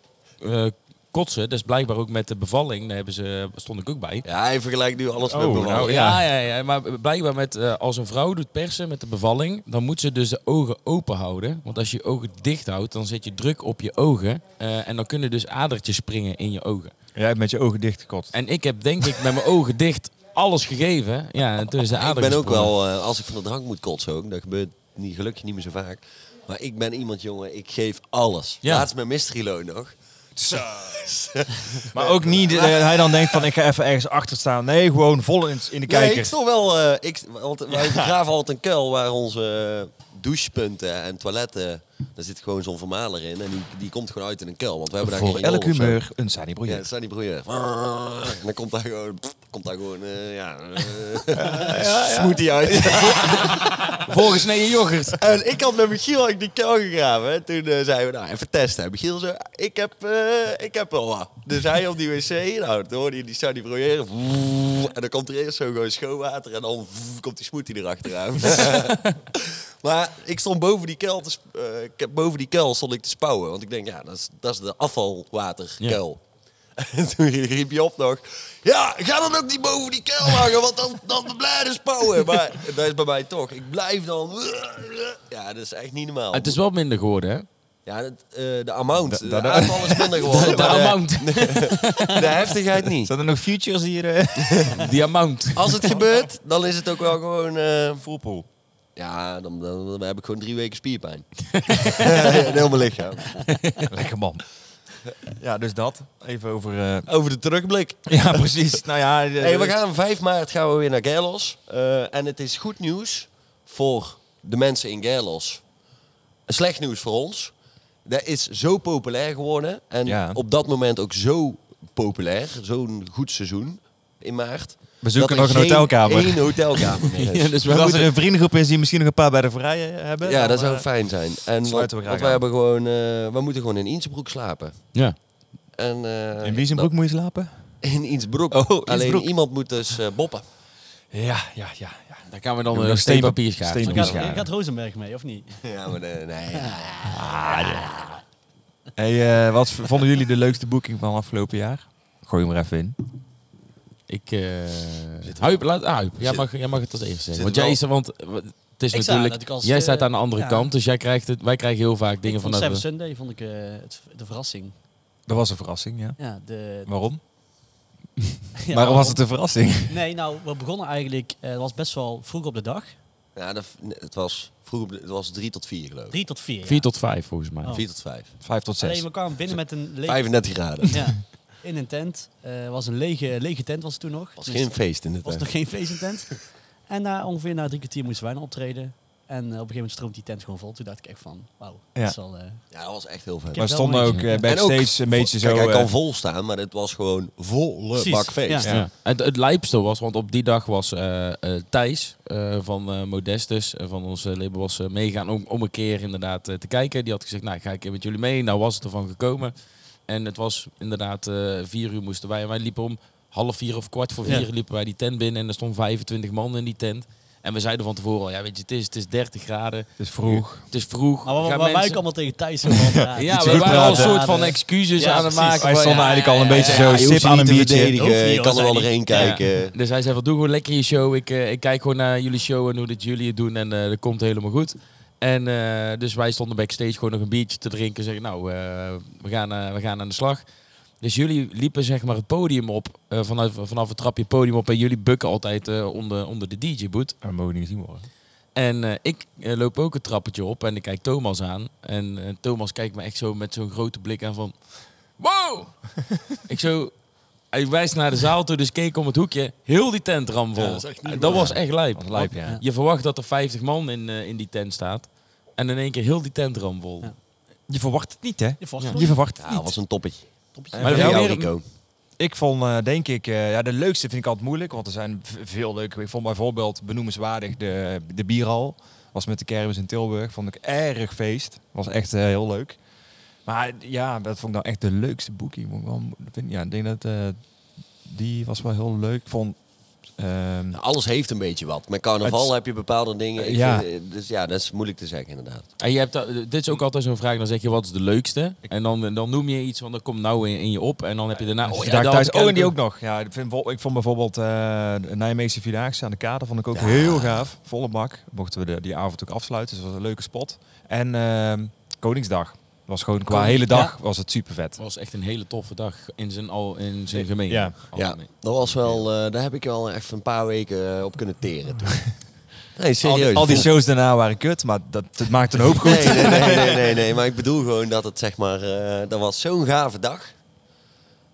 eh, kotsen. Dus blijkbaar ook met de bevalling. Daar hebben ze, stond ik ook bij. Ja, hij vergelijkt nu alles met Oh, bevallen. nou, Ja, ja, ja, maar blijkbaar met, eh, als een vrouw doet persen met de bevalling, dan moet ze dus de ogen open houden. Want als je je ogen dicht houdt, dan zet je druk op je ogen. eh, en dan kunnen dus adertjes springen in je ogen. Jij hebt met je ogen dichtgekotst. En ik heb denk ik met mijn ogen dicht alles gegeven. Ja, en toen is de ik ader ben ook gesprongen. wel, eh, als ik van de drank moet kotsen ook, dat gebeurt niet, gelukkig niet meer zo vaak. Maar ik ben iemand, jongen, ik geef alles. Ja. Laatst met Mystery Loan nog. Maar ook niet eh, dat hij dan denkt van ik ga even ergens achter staan. Nee, gewoon vol in, in de Nee, ik kijker. stond wel... eh, ik, want wij graven altijd een kuil waar onze eh, douchepunten en toiletten... Daar zit gewoon zo'n vermaler in en die, die komt gewoon uit in een kuil. Want we hebben daar Voor geen riool elk of zo. humeur een Sani Ja, project. het zijn die broeier. En dan komt daar gewoon... Komt daar gewoon, eh, ja... [LAUGHS] eh, Smoothie uit. Volgesneden yoghurt. En ik had met Michiel had ik die kuil gegraven. En toen eh, zeiden we, nou, even testen. En Michiel zei, ik heb, eh, ik heb wel wat. Dus hij op die wc, nou, toen hoorde je die Sunny broeieren. En dan komt er eerst zo gewoon schoonwater en dan vroeg, komt die smoothie erachteraan. maar ik stond boven die kuil, te, sp- eh, ik heb- boven die kuil stond ik te spouwen. Want ik denk, ja, dat is, dat is de afvalwaterkuil. [LAUGHS] En toen riep je op nog, ja, ga dan ook niet boven die kuil hangen, want dan, dan blijven spouwen. Maar dat is bij mij toch, ik blijf dan... Ja, dat is echt niet normaal. Het is wel minder geworden, hè? Ja, dat, eh, de amount, Da- de, da- da- aantal is [LAUGHS] minder geworden. De maar eh, amount. de heftigheid niet. Zijn er nog futures hier? eh? [LAUGHS] Die amount. Als het gebeurt, dan is het ook wel gewoon... eh, Voelpoel. ja, dan, dan, dan heb ik gewoon drie weken [LAUGHS] spierpijn. [LAUGHS] In heel mijn lichaam. Lekker man. Ja, dus dat. Even over... eh, Over de terugblik. [LAUGHS] Ja, precies. Nou ja, eh, Hey, we gaan 5 maart gaan we weer naar Gerlos. Eh, en het is goed nieuws voor de mensen in Gerlos. Slecht nieuws voor ons. Dat is zo populair geworden. En Ja. op dat moment ook zo populair. Zo'n goed seizoen in maart. We zoeken dat er nog een geen hotelkamer. één hotelkamer meer [LAUGHS] is. Ja, dus wij als moeten- er een vriendengroep is die misschien nog een paar bij de vrije hebben. Ja, dan, dat eh, zou fijn zijn. En want, sluiten we graag want we aan. hebben gewoon, eh, we moeten gewoon in Innsbruck slapen. Ja. En, eh, In wie zijn broek moet je slapen? dat- [LAUGHS] In Innsbruck. Oh, Innsbruck. Alleen iemand moet dus eh, boppen. Ja, ja, ja. ja. Daar gaan we eh, dan Doen we een nog steenpapier steen- schaatsen. Je steen- Ja. gaat, je gaat Rosenberg mee, of niet? [LAUGHS] Ja, maar eh, nee. Hey, eh, wat v- vonden jullie de leukste boeking van afgelopen jaar? Gooi hem er even in. Ik... eh Huip, laat... ah, Huip, jij Zit- mag, jij mag het als eerste zeggen. zit Want er jij wel- is... er- Want eh, wa- het is Ik sta natuurlijk... natuurlijk als, Jij eh, staat aan de andere ja. kant, dus jij krijgt het... wij krijgen heel vaak dingen ik vond vanuit... Seven de- Sunday vond ik eh, het, de verrassing. Dat was een verrassing, ja. Ja, de, Waarom? ja, Waarom was het een verrassing? Nee, nou, we begonnen eigenlijk, eh, het was best wel vroeg op de dag. Ja, dat, nee, het was vroeger, het was 3 tot 4 geloof ik. Drie tot vier. ja. Vier tot vijf, volgens mij. Oh. 4 tot 5. Vijf tot Alleen zes. we kwamen binnen met een lege... [LAUGHS] 35 graden. Ja, in een tent. Eh was een lege, lege tent was het toen nog. was Dus geen feest in de was tent. nog geen feestentent. en na, ongeveer na drie kwartier moesten wij nog optreden. En eh, op een gegeven moment stroomt die tent gewoon vol. Toen dacht ik echt van, wauw, Ja. dat is wel... eh, Ja, dat was echt heel vet. heb Maar wel stonden een ook beetje- eh, En backstage een beetje zo... Kijk, hij kan eh, vol staan, maar het was gewoon volle Precies, bak feest. ja. Ja. Het, het lijpste was, want op die dag was eh, eh, Thijs eh, van eh, Modestus, eh, van ons eh, label, was eh, meegaan om, om een keer inderdaad eh, te kijken. Die had gezegd, nou ik ga ik met jullie mee. Nou was het ervan gekomen. En het was inderdaad eh, vier uur moesten wij. En wij liepen om half vier of kwart voor vier Ja. liepen wij die tent binnen. En er stonden 25 man in die tent. En we zeiden van tevoren al, ja weet je, het is, het is 30 graden. Het is vroeg. Het is vroeg. Maar waar, Gaan waar wij mensen- ook allemaal tegen Thijs zo van, ja, Ja, iets we goed waren al een praten. soort van Ja, excuses Ja, aan het precies. maken. Wij van, stonden ja, eigenlijk al een ja, beetje ja, zo je hoeft sip ze aan niet een te biertje. verdedigen, Hoeft niet, je kan er hoor, wel doorheen Ja. kijken. Dus hij zei van, doe gewoon lekker je show. Ik, eh, ik kijk gewoon naar jullie show en hoe dat jullie het doen. En eh, dat komt helemaal goed. En eh, dus wij stonden backstage gewoon nog een biertje te drinken. Zeggen, nou, eh, we, gaan, eh, we gaan aan de slag. Dus jullie liepen zeg maar het podium op, eh, vanaf, vanaf het trapje podium op. En jullie bukken altijd eh, onder, onder de DJ-boot. Dat mogen niet gezien worden. En eh, ik eh, loop ook het trappetje op en ik kijk Thomas aan. En eh, Thomas kijkt me echt zo met zo'n grote blik aan van... [LAUGHS] Wow! ik zo... Hij wijst naar de zaal toe, dus keek om het hoekje. Heel die tent ram vol. Ja, dat dat is echt niet was echt lijp. Wat lijp, ja. Want Je verwacht dat er 50 man in, eh, in die tent staat. En in één keer heel die tent ram vol. Ja. Je verwacht het niet, hè? Je verwacht het Je niet. verwacht het Ja, dat niet. was een toppetje. Toppetje. Maar Voor dat vind jou, ik weer- Rico. Ik vond, eh, denk ik, eh, ja, de leukste vind ik altijd moeilijk, want er zijn v- veel leuke. Ik vond bijvoorbeeld benoemenswaardig de, de bierhal. Was met de kermis in Tilburg. Vond ik erg feest. Was echt eh, heel leuk. Maar ja, dat vond ik nou echt de leukste boeking. Vond ik wel mo- vind- Ja, ik denk dat eh, die was wel heel leuk. Ik vond, ehm, Nou, alles heeft een beetje wat. Met carnaval Het- heb je bepaalde dingen. Ik Ja. vind, eh, dus ja, dat is moeilijk te zeggen inderdaad. En je hebt, da- dit is ook altijd zo'n vraag, dan zeg je wat is de leukste? En dan, dan noem je iets, want dat komt nou in, in je op. En dan heb je daarna... als je ja, daar dat thuis, had ik oh, en die ook eigenlijk nog. Ja, ik, vind, vol- ik vond bijvoorbeeld eh, de Nijmeegse Vierdaagse aan de kade vond ik ook heel gaaf. Volle bak. Mochten we de, die avond ook afsluiten, dus dat was een leuke spot. En ehm, Koningsdag. was gewoon qua hele dag Ja. was het super vet. Het was echt een hele toffe dag in zijn, al, in zijn gemeen. Ja. Ja, dat was wel, eh, daar heb ik wel echt een paar weken eh, op kunnen [LAUGHS] teren. toen. Nee, Al serieus. die, al die Vol- shows daarna waren kut, maar dat, dat maakt een hoop goed. Nee, nee, nee, nee, nee, [LAUGHS] nee, maar ik bedoel gewoon dat het zeg maar, eh, dat was zo'n gave dag.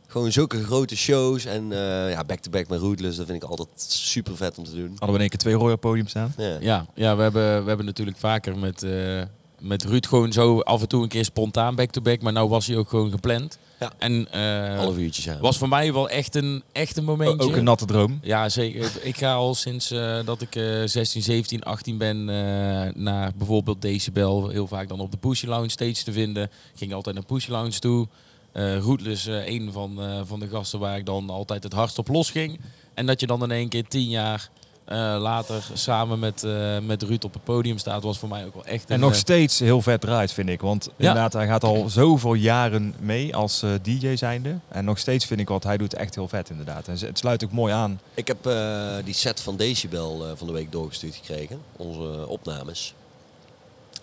Gewoon zulke grote shows en eh, ja, back-to-back met Rootless, dat vind ik altijd super vet om te doen. Hadden we in één keer twee Royal podiums staan. Ja. Ja, ja we, hebben, we hebben natuurlijk vaker met, eh, met Ruud gewoon zo af en toe een keer spontaan back-to-back. maar nou was hij ook gewoon gepland. Ja. En eh, Half uurtje samen. was voor mij wel echt een, echt een O- momentje. Ook een natte droom. ja, zeker. Ik ga al sinds eh, dat ik eh 16, 17, 18 ben eh, naar bijvoorbeeld Decibel. Heel vaak dan op de Pushy Lounge steeds te vinden. Ik ging altijd naar Pushy Lounge toe. Eh Rootless, eh, een van, eh, van de gasten waar ik dan altijd het hardst op los ging. En dat je dan in één keer tien jaar eh, later samen met, eh, met Ruud op het podium staat, was voor mij ook wel echt En een, nog eh, steeds heel vet draait, vind ik. Want inderdaad, hij gaat al zoveel jaren mee als eh, DJ zijnde. En nog steeds vind ik wat hij doet echt heel vet, inderdaad. En ze- het sluit ook mooi aan. Ik heb eh, die set van Decibel eh, van de week doorgestuurd gekregen, onze opnames.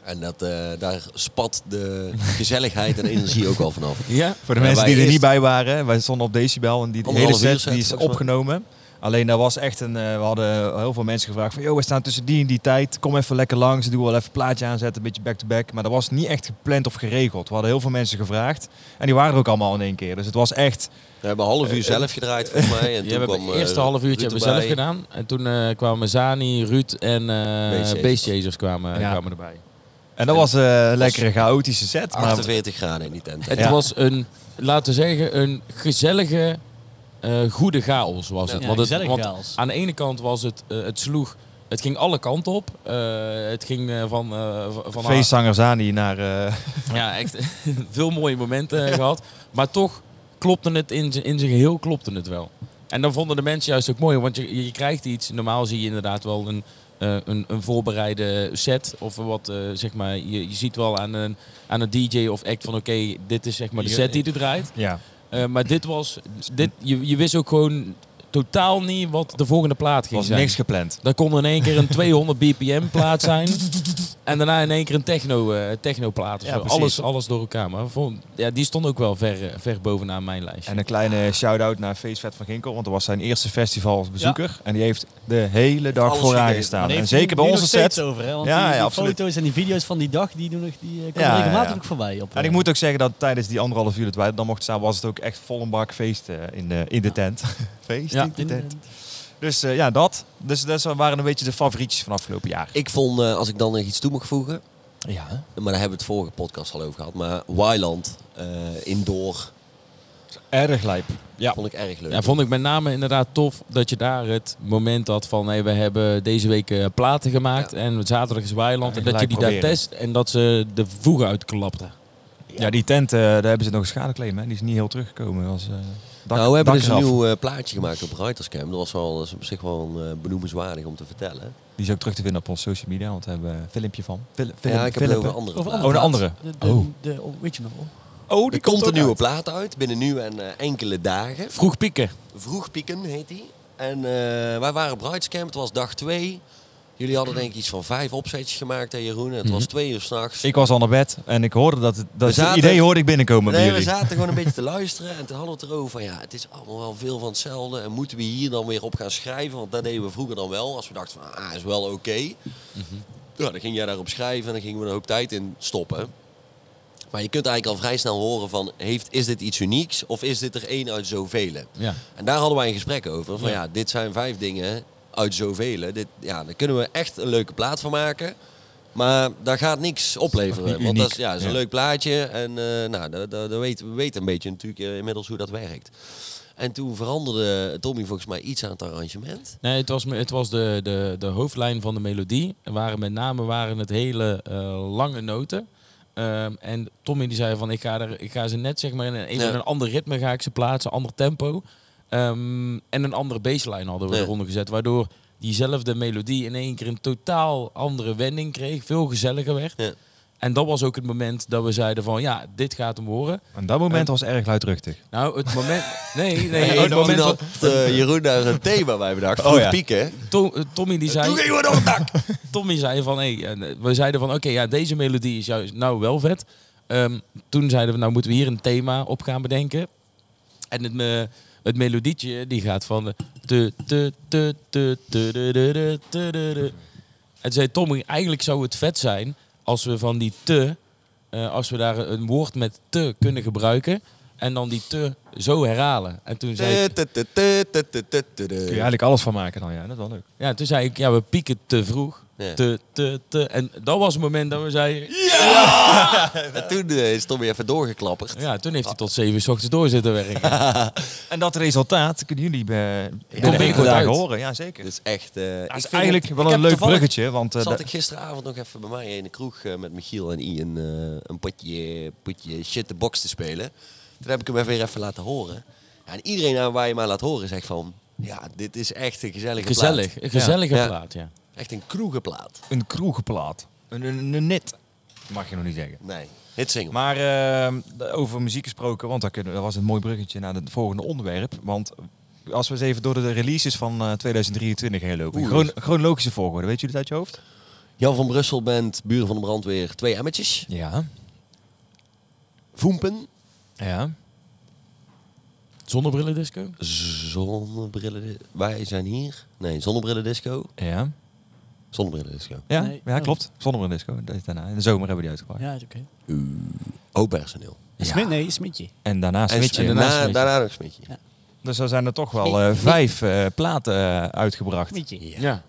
En dat, eh, daar spat [LAUGHS] de gezelligheid en energie ook al vanaf. Ja, Voor de Ja, mensen die wij er eerst- niet bij waren, wij stonden op Decibel en die die hele Anderhalf uur set set, die is volgens mij. opgenomen. Alleen daar was echt een, eh, we hadden heel veel mensen gevraagd van, joh, we staan tussen die en die tijd, kom even lekker langs, doe wel even een plaatje aanzetten, een beetje back-to-back. Maar dat was niet echt gepland of geregeld. We hadden heel veel mensen gevraagd en die waren er ook allemaal in één keer. Dus het was echt, We hebben een half uur zelf gedraaid volgens mij. En Eh, Ja, toen we hebben kwam, het eh, eerste half uurtje Ruud hebben we zelf erbij. gedaan. En toen eh, kwamen Zani, Ruud en eh Beestjezers. Beestjezers kwamen, Ja. kwamen erbij. en dat was eh, een lekkere chaotische set. Maar 48 graden in die tent. Het Ja. was een, laten we zeggen, een gezellige, eh, goede chaos was het. Ja, want het gezellig want chaos. aan de ene kant was het, eh, het sloeg, het ging alle kanten op. Eh, het ging eh, van, eh, v- van feestzanger Zani naar... eh, ja, echt [LAUGHS] veel mooie momenten eh, gehad. Maar toch klopte het in, z'n- in zijn geheel klopte het wel. En dan vonden de mensen juist ook mooi, want je, je krijgt iets. Normaal zie je inderdaad wel een, eh, een, een voorbereide set. Of wat, eh, zeg maar, je, je ziet wel aan een, aan een DJ of act van oké, dit is zeg maar de set die er draait. ja. Eh, maar dit was, dit, je, je wist ook gewoon totaal niet wat de volgende plaat ging was zijn. niks gepland. Dan kon er in één keer een [LAUGHS] 200 bpm plaat zijn. En daarna in één keer een techno, eh techno plaat. Ja, precies. alles, alles door elkaar. Maar vond- ja, die stond ook wel ver, eh, ver bovenaan mijn lijstje. En een kleine shout-out naar Feestvet van Ginkel, want dat was zijn eerste festival als bezoeker. En die heeft de hele dag Alles vooraan gegeven. gestaan. Maar En daar heeft zeker hij bij nu onze nog steeds set. Over, hè? Want Ja, die, die ja, absoluut. foto's en die video's van die dag, die, doen nog, die eh, komen Ja, ja, regelmatig ja. ook voorbij. Op, En eh, ik moet ook zeggen dat tijdens die anderhalf uur dat wij er dan mochten staan, was het ook echt vol een bak feest eh, in de, in de tent. [LAUGHS] feest Ja. in de in- tent. Dus eh, ja, dat. Dus dat waren een beetje de favorietjes van afgelopen jaar. Ik vond, eh, als ik dan nog iets toe mag voegen, Ja. maar daar hebben we het vorige podcast al over gehad, maar Wyland, eh, indoor, Erg lijp. Ja. vond ik erg leuk. Ja, vond ik met name inderdaad tof dat je daar het moment had van... Hey, we hebben deze week eh, platen gemaakt en zaterdag is Weiland. Ja, en dat je gelijk die daar proberen. test en dat ze de voegen uitklapten. Ja, die tent, eh, daar hebben ze nog een schadeclaim. Hè. Die is niet heel teruggekomen. Als, eh dak- nou, we hebben dak dus een eraf. nieuw eh, plaatje gemaakt op Ruiterscam. Dat was wel dat is op zich wel een, eh, benoemenswaardig om te vertellen. Die is ook terug te vinden op onze social media, want daar hebben we een filmpje van. Fil- film- Ja, ik heb het filmpje. over andere Over platen. Oh, de andere. De, de, Oh. de original. Oh, Er komt een ook nieuwe uit. plaat uit, binnen nu en eh, enkele dagen. Vroeg pieken. Vroeg Pieken heet die. En eh, wij waren op Bruidscamp, het was dag twee. Jullie hadden denk ik iets van vijf opzetjes gemaakt, hè Jeroen? Het was twee uur s'nachts. Mhm. Ik was al naar bed en ik hoorde dat het, dat We zaten- het idee hoorde ik binnenkomen bij Nee, we jullie. zaten gewoon een beetje te luisteren en toen hadden we het erover van ja, het is allemaal wel veel van hetzelfde en moeten we hier dan weer op gaan schrijven? Want dat deden we vroeger dan wel, als we dachten van ah, is wel oké. Ja, dan ging jij daarop schrijven en dan gingen we een hoop tijd in stoppen. Maar je kunt eigenlijk al vrij snel horen van heeft, is dit iets unieks of is dit er één uit zoveel? Ja. En daar hadden wij een gesprek over. Van Ja. ja, dit zijn vijf dingen uit zoveel. Dit, ja, daar kunnen we echt een leuke plaat van maken. Maar daar gaat niks opleveren. Niet Want dat is, uniek. ja, dat is een Ja. leuk plaatje. En eh, nou, da- da- da weet, we weten een beetje natuurlijk eh, inmiddels hoe dat werkt. En toen veranderde Tommy volgens mij iets aan het arrangement. Nee, het was, me- het was de, de, de hoofdlijn van de melodie. Er waren met name waren het hele eh, lange noten. Ehm, en Tommy die zei van ik ga, er, ik ga ze net zeg maar in een, even Ja. een ander ritme ga ik ze plaatsen, ander tempo. Ehm, en een andere baseline hadden we Ja. eronder gezet. Waardoor diezelfde melodie in één keer een totaal andere wending kreeg. Veel gezelliger werd. Ja. En dat was ook het moment dat we zeiden van ja, dit gaat hem horen. En dat moment was erg luidruchtig. Nou, het [LAUGHS] moment... Nee, nee, Nee, het toen moment... had wat- eh, Jeroen daar een thema bij bedacht. Oh, Vroeg ja. pieken. To- Tommy die zei... Toen gingen we door [LAUGHS] het dak. Tommy zei van, hey, eh, we zeiden van, oké, ja, deze melodie is juist nou wel vet. Eh, Ehm, toen zeiden we, nou moeten we hier een thema op gaan bedenken. En het, me- het melodietje, die gaat van... eh, te, te, te, te, te, te, te, te, te, te, te. En zei Tommy, eigenlijk zou het vet zijn als we van die te... eh, als we daar een woord met te kunnen gebruiken... en dan die te zo herhalen. En toen Eh, zei ik... Kun je eigenlijk alles van maken dan, ja. Dat is wel leuk. Ja, toen zei ik, ja, we pieken te vroeg. Ja. Te, te, te. En dat was het moment dat we zeiden... En toen eh, is Tommy even doorgeklapperd. Ja, toen heeft hij tot zeven uur 's ochtends door zitten werken. En dat resultaat kunnen jullie bij Komt binnenkort uit. horen. Ja, zeker. Dat is echt... eh, ik dat is vind eigenlijk het- wel ik een heb leuk toevallig- bruggetje. Want eh, Zat da- ik gisteravond nog even bij mij in de kroeg eh, met Michiel en Ian eh, een potje, potje shit the box te spelen. Toen heb ik hem even weer even laten horen. Ja, en iedereen aan waar je maar laat horen zegt van, ja, dit is echt een gezellige plaat. Gezellig, een gezellige Ja. plaat, ja. Echt een kroegenplaat. een kroegenplaat. Een, een, een net. Mag je nog niet zeggen. Nee, hit single. Maar eh, over muziek gesproken, want daar kunnen- dat was een mooi bruggetje naar het volgende onderwerp. Want als we eens even door de releases van eh, 2023 heen lopen. Oeh. Chron- chronologische volgorde, weet jullie dat uit je hoofd? Jan van Brussel bent buren van de brandweer, twee emmetjes. Ja. Voempen. ja. Zonnebrillendisco? Zonnebrillen. Wij zijn hier. Nee, zonnebrillen disco. Ja. Zonnebrillen disco. Ja, Nee. ja klopt. Zonder een disco. Dat is daarna. In de zomer hebben we die uitgebracht. Ja, is oké. Ook personeel. Smit, nee, Smitje. En daarna Switchen. En daarna daarna, Smitje. daarna nog een smetje. Ja. Dus er zijn er toch wel eh, vijf eh, platen eh, uitgebracht. Smitje. Ja.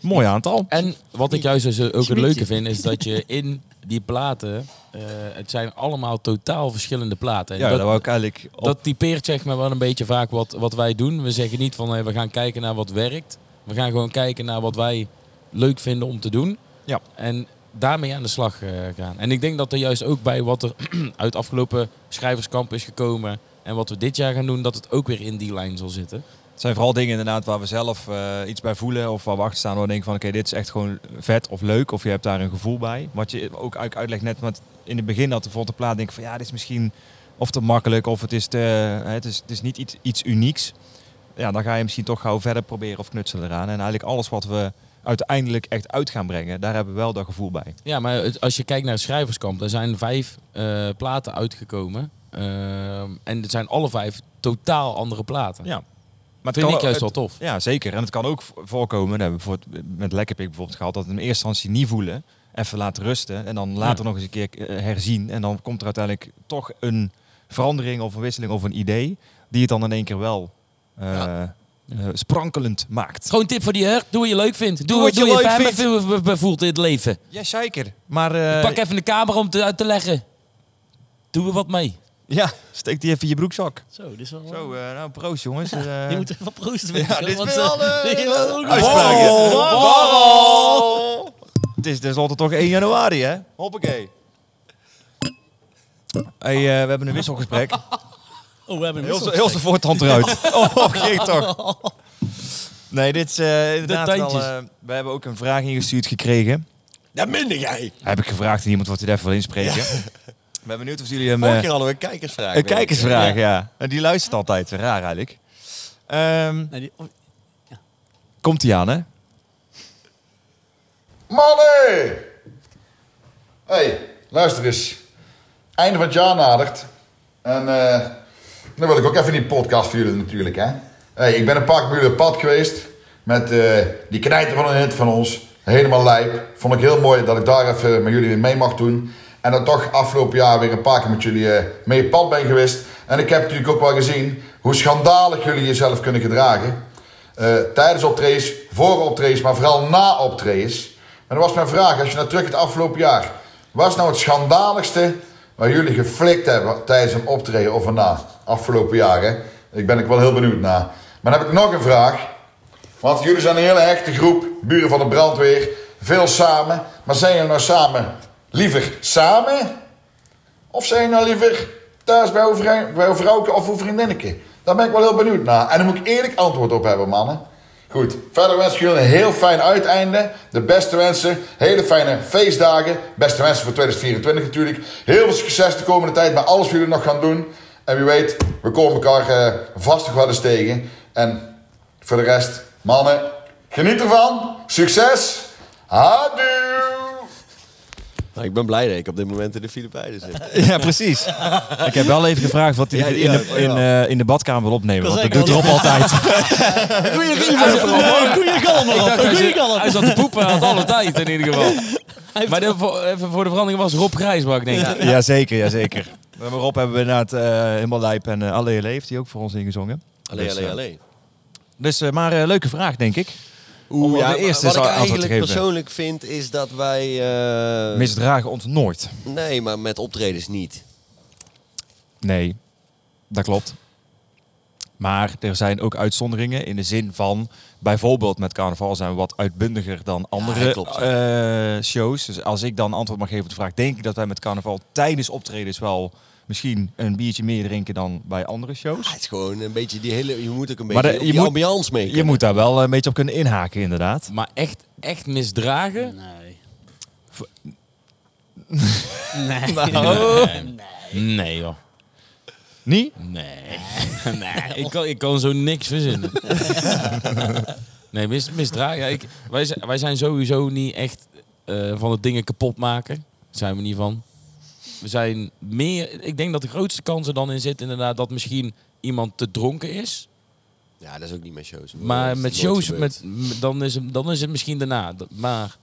Mooi aantal. En wat ik juist dus ook het Schmietje. leuke vind, is dat je in die platen... eh, het zijn allemaal totaal verschillende platen. En Ja, dat, dat, wou ik eigenlijk op. dat typeert zeg maar wel een beetje vaak wat, wat wij doen. We zeggen niet van, hé, we gaan kijken naar wat werkt. We gaan gewoon kijken naar wat wij leuk vinden om te doen. Ja. En daarmee aan de slag eh, gaan. En ik denk dat er juist ook bij wat er [CLEARS THROAT] uit afgelopen schrijverskamp is gekomen... en wat we dit jaar gaan doen, dat het ook weer in die lijn zal zitten. Het zijn vooral dingen inderdaad waar we zelf eh, iets bij voelen of waar we achter staan. Waar we denken van oké, dit is echt gewoon vet of leuk. Of je hebt daar een gevoel bij. Wat je ook eigenlijk uitlegt net want in het begin dat de volgende plaat denk ik van ja, dit is misschien of te makkelijk of het is, te, hè, het is, het is niet iets, iets unieks. Ja, dan ga je misschien toch gauw verder proberen of knutselen eraan. En eigenlijk alles wat we uiteindelijk echt uit gaan brengen, daar hebben we wel dat gevoel bij. Ja, maar het- als je kijkt naar het schrijverskamp, er zijn vijf eh, platen uitgekomen. Ehm, en het zijn alle vijf totaal andere platen. Ja. Maar Vind ik het- juist wel tof. Ja, zeker. En het kan ook vo- voorkomen, dat hebben we bijvoorbeeld met Lekkerpik bijvoorbeeld gehad, dat we hem in eerste instantie niet voelen, even laten rusten en dan later nog eens een keer eh, herzien. En dan komt er uiteindelijk toch een verandering of een wisseling of een idee, die het dan in één keer wel eh, Ja. eh, sprankelend maakt. Gewoon een tip voor die her. Doe wat je leuk vindt. Doe, Doe wat doe je je leuk fijn vindt. bevo- be- bevoelt in het leven. Ja, zeker. Maar eh, Pak even de camera om te, uit te leggen. Doe er wat mee. ja, steek die even in je broekzak. Zo, dit is wel... Zo, eh, nou proost [LAUGHS] jongens. Eh, je moet even proosten. vind ik, hoor, dit is want, wel, [LAUGHS] eh, eh, dit is wel goed. Uitspraakje. Het is tenslotte toch 1 januari, hè? Hoppakee. Hey, eh, we hebben een wisselgesprek. [LAUGHS] Oh, we hebben een Heel zo- wissel. heel zijn voortand [LAUGHS] eruit. Oh, geen toch. Nee, dit is eh, inderdaad wel... tandjes. eh, we hebben ook een vraag ingestuurd gekregen. Dat minder jij. Heb ik gevraagd aan iemand wat hij daarvoor wil inspreken. [LAUGHS] Ik ben benieuwd of jullie hem... Vorige eh, keer hadden we een kijkersvraag. een kijkersvraag, ja. En die luistert altijd. Raar eigenlijk. Ehm, Nee, die- oh, komt hij aan, hè? Mannen! hey, luister eens. Einde van het jaar nadert. En eh, dan wil ik ook even die podcast voor jullie natuurlijk, hè. hey, ik ben een paar keer bij jullie op pad geweest. Met eh, die knijter van een hit van ons. Helemaal lijp. Vond ik heel mooi dat ik daar even met jullie mee mag doen. En dat toch afgelopen jaar weer een paar keer met jullie eh, mee op pad ben geweest. En ik heb natuurlijk ook wel gezien hoe schandalig jullie jezelf kunnen gedragen. Eh, tijdens optredens, voor optredens, maar vooral na optredens. En dat was mijn vraag, als je naar terug het afgelopen jaar. Wat is nou het schandaligste waar jullie geflikt hebben tijdens een optreden of een na? Afgelopen jaar, hè? Ik ben ik wel heel benieuwd naar. Maar dan heb ik nog een vraag. Want jullie zijn een hele hechte groep, buren van de brandweer. Veel samen. Maar zijn jullie nou samen liever samen of zijn je nou liever thuis bij uw, vrij, bij uw vrouwke of uw vriendinnetje? Daar ben ik wel heel benieuwd naar. En daar moet ik eerlijk antwoord op hebben, mannen. Goed, verder wens ik jullie een heel fijn uiteinde. De beste wensen, hele fijne feestdagen. Beste wensen voor 2024 natuurlijk. Heel veel succes de komende tijd met alles wat jullie nog gaan doen. En wie weet, we komen elkaar eh, vast nog wel eens tegen. En voor de rest, mannen, geniet ervan. Succes. Adieu. Nou, ik ben blij dat ik op dit moment in de [LAUGHS] Filipijnen zit. Ja, precies. Ik heb wel even gevraagd wat hij Ja, die in, de, ook, in, eh, in de badkamer wil opnemen. Dat Want dat zei doet ik Rob altijd. Goeie kalm, Rob. Goeie kalm. Hij zat te poepen, had alle tijd in ieder geval. [LAUGHS] Ah, [LAUGHS] Maar dit voor, even voor de verandering was Rob Grijsbak, denk ik. Jazeker, jazeker. Maar Rob hebben we inderdaad eh helemaal lijp en eh Allee Allee heeft hij ook voor ons ingezongen. Allee, Dus, allee, eh, allee. Dus, eh, maar eh, leuke vraag, denk ik. Om Oeh, ja, de eerste wat ik zou antwoord te eigenlijk geven. persoonlijk vind is dat wij... eh, Misdragen ons nooit. Nee, maar met optredens niet. Nee, dat klopt. Maar er zijn ook uitzonderingen in de zin van, bijvoorbeeld met carnaval zijn we wat uitbundiger dan andere dat klopt, eh, shows. Dus als ik dan antwoord mag geven op de vraag, denk ik dat wij met carnaval tijdens optredens wel misschien een biertje meer drinken dan bij andere shows. Ah, het is gewoon een beetje die hele... Je moet ook een Maar beetje de- op je die moet- ambiance mee. Je moet daar wel eh, een beetje op kunnen inhaken, inderdaad. Maar echt, echt misdragen? Nee. Nee. Nee, joh. Niet? Nee. [LAUGHS] nee. Ik, kan, ik kan zo niks [LAUGHS] verzinnen. nee, mis, misdragen. Ja, ik, wij, zijn, wij zijn sowieso niet echt eh, van het dingen kapot maken. Zijn we niet van. We zijn meer. Ik denk dat de grootste kans er dan in zit, inderdaad, dat misschien iemand te dronken is. Ja, dat is ook niet met shows. Dat Maar is met nooit shows, gebeurd. met, m- dan, is het, dan is het misschien daarna. Dat- Maar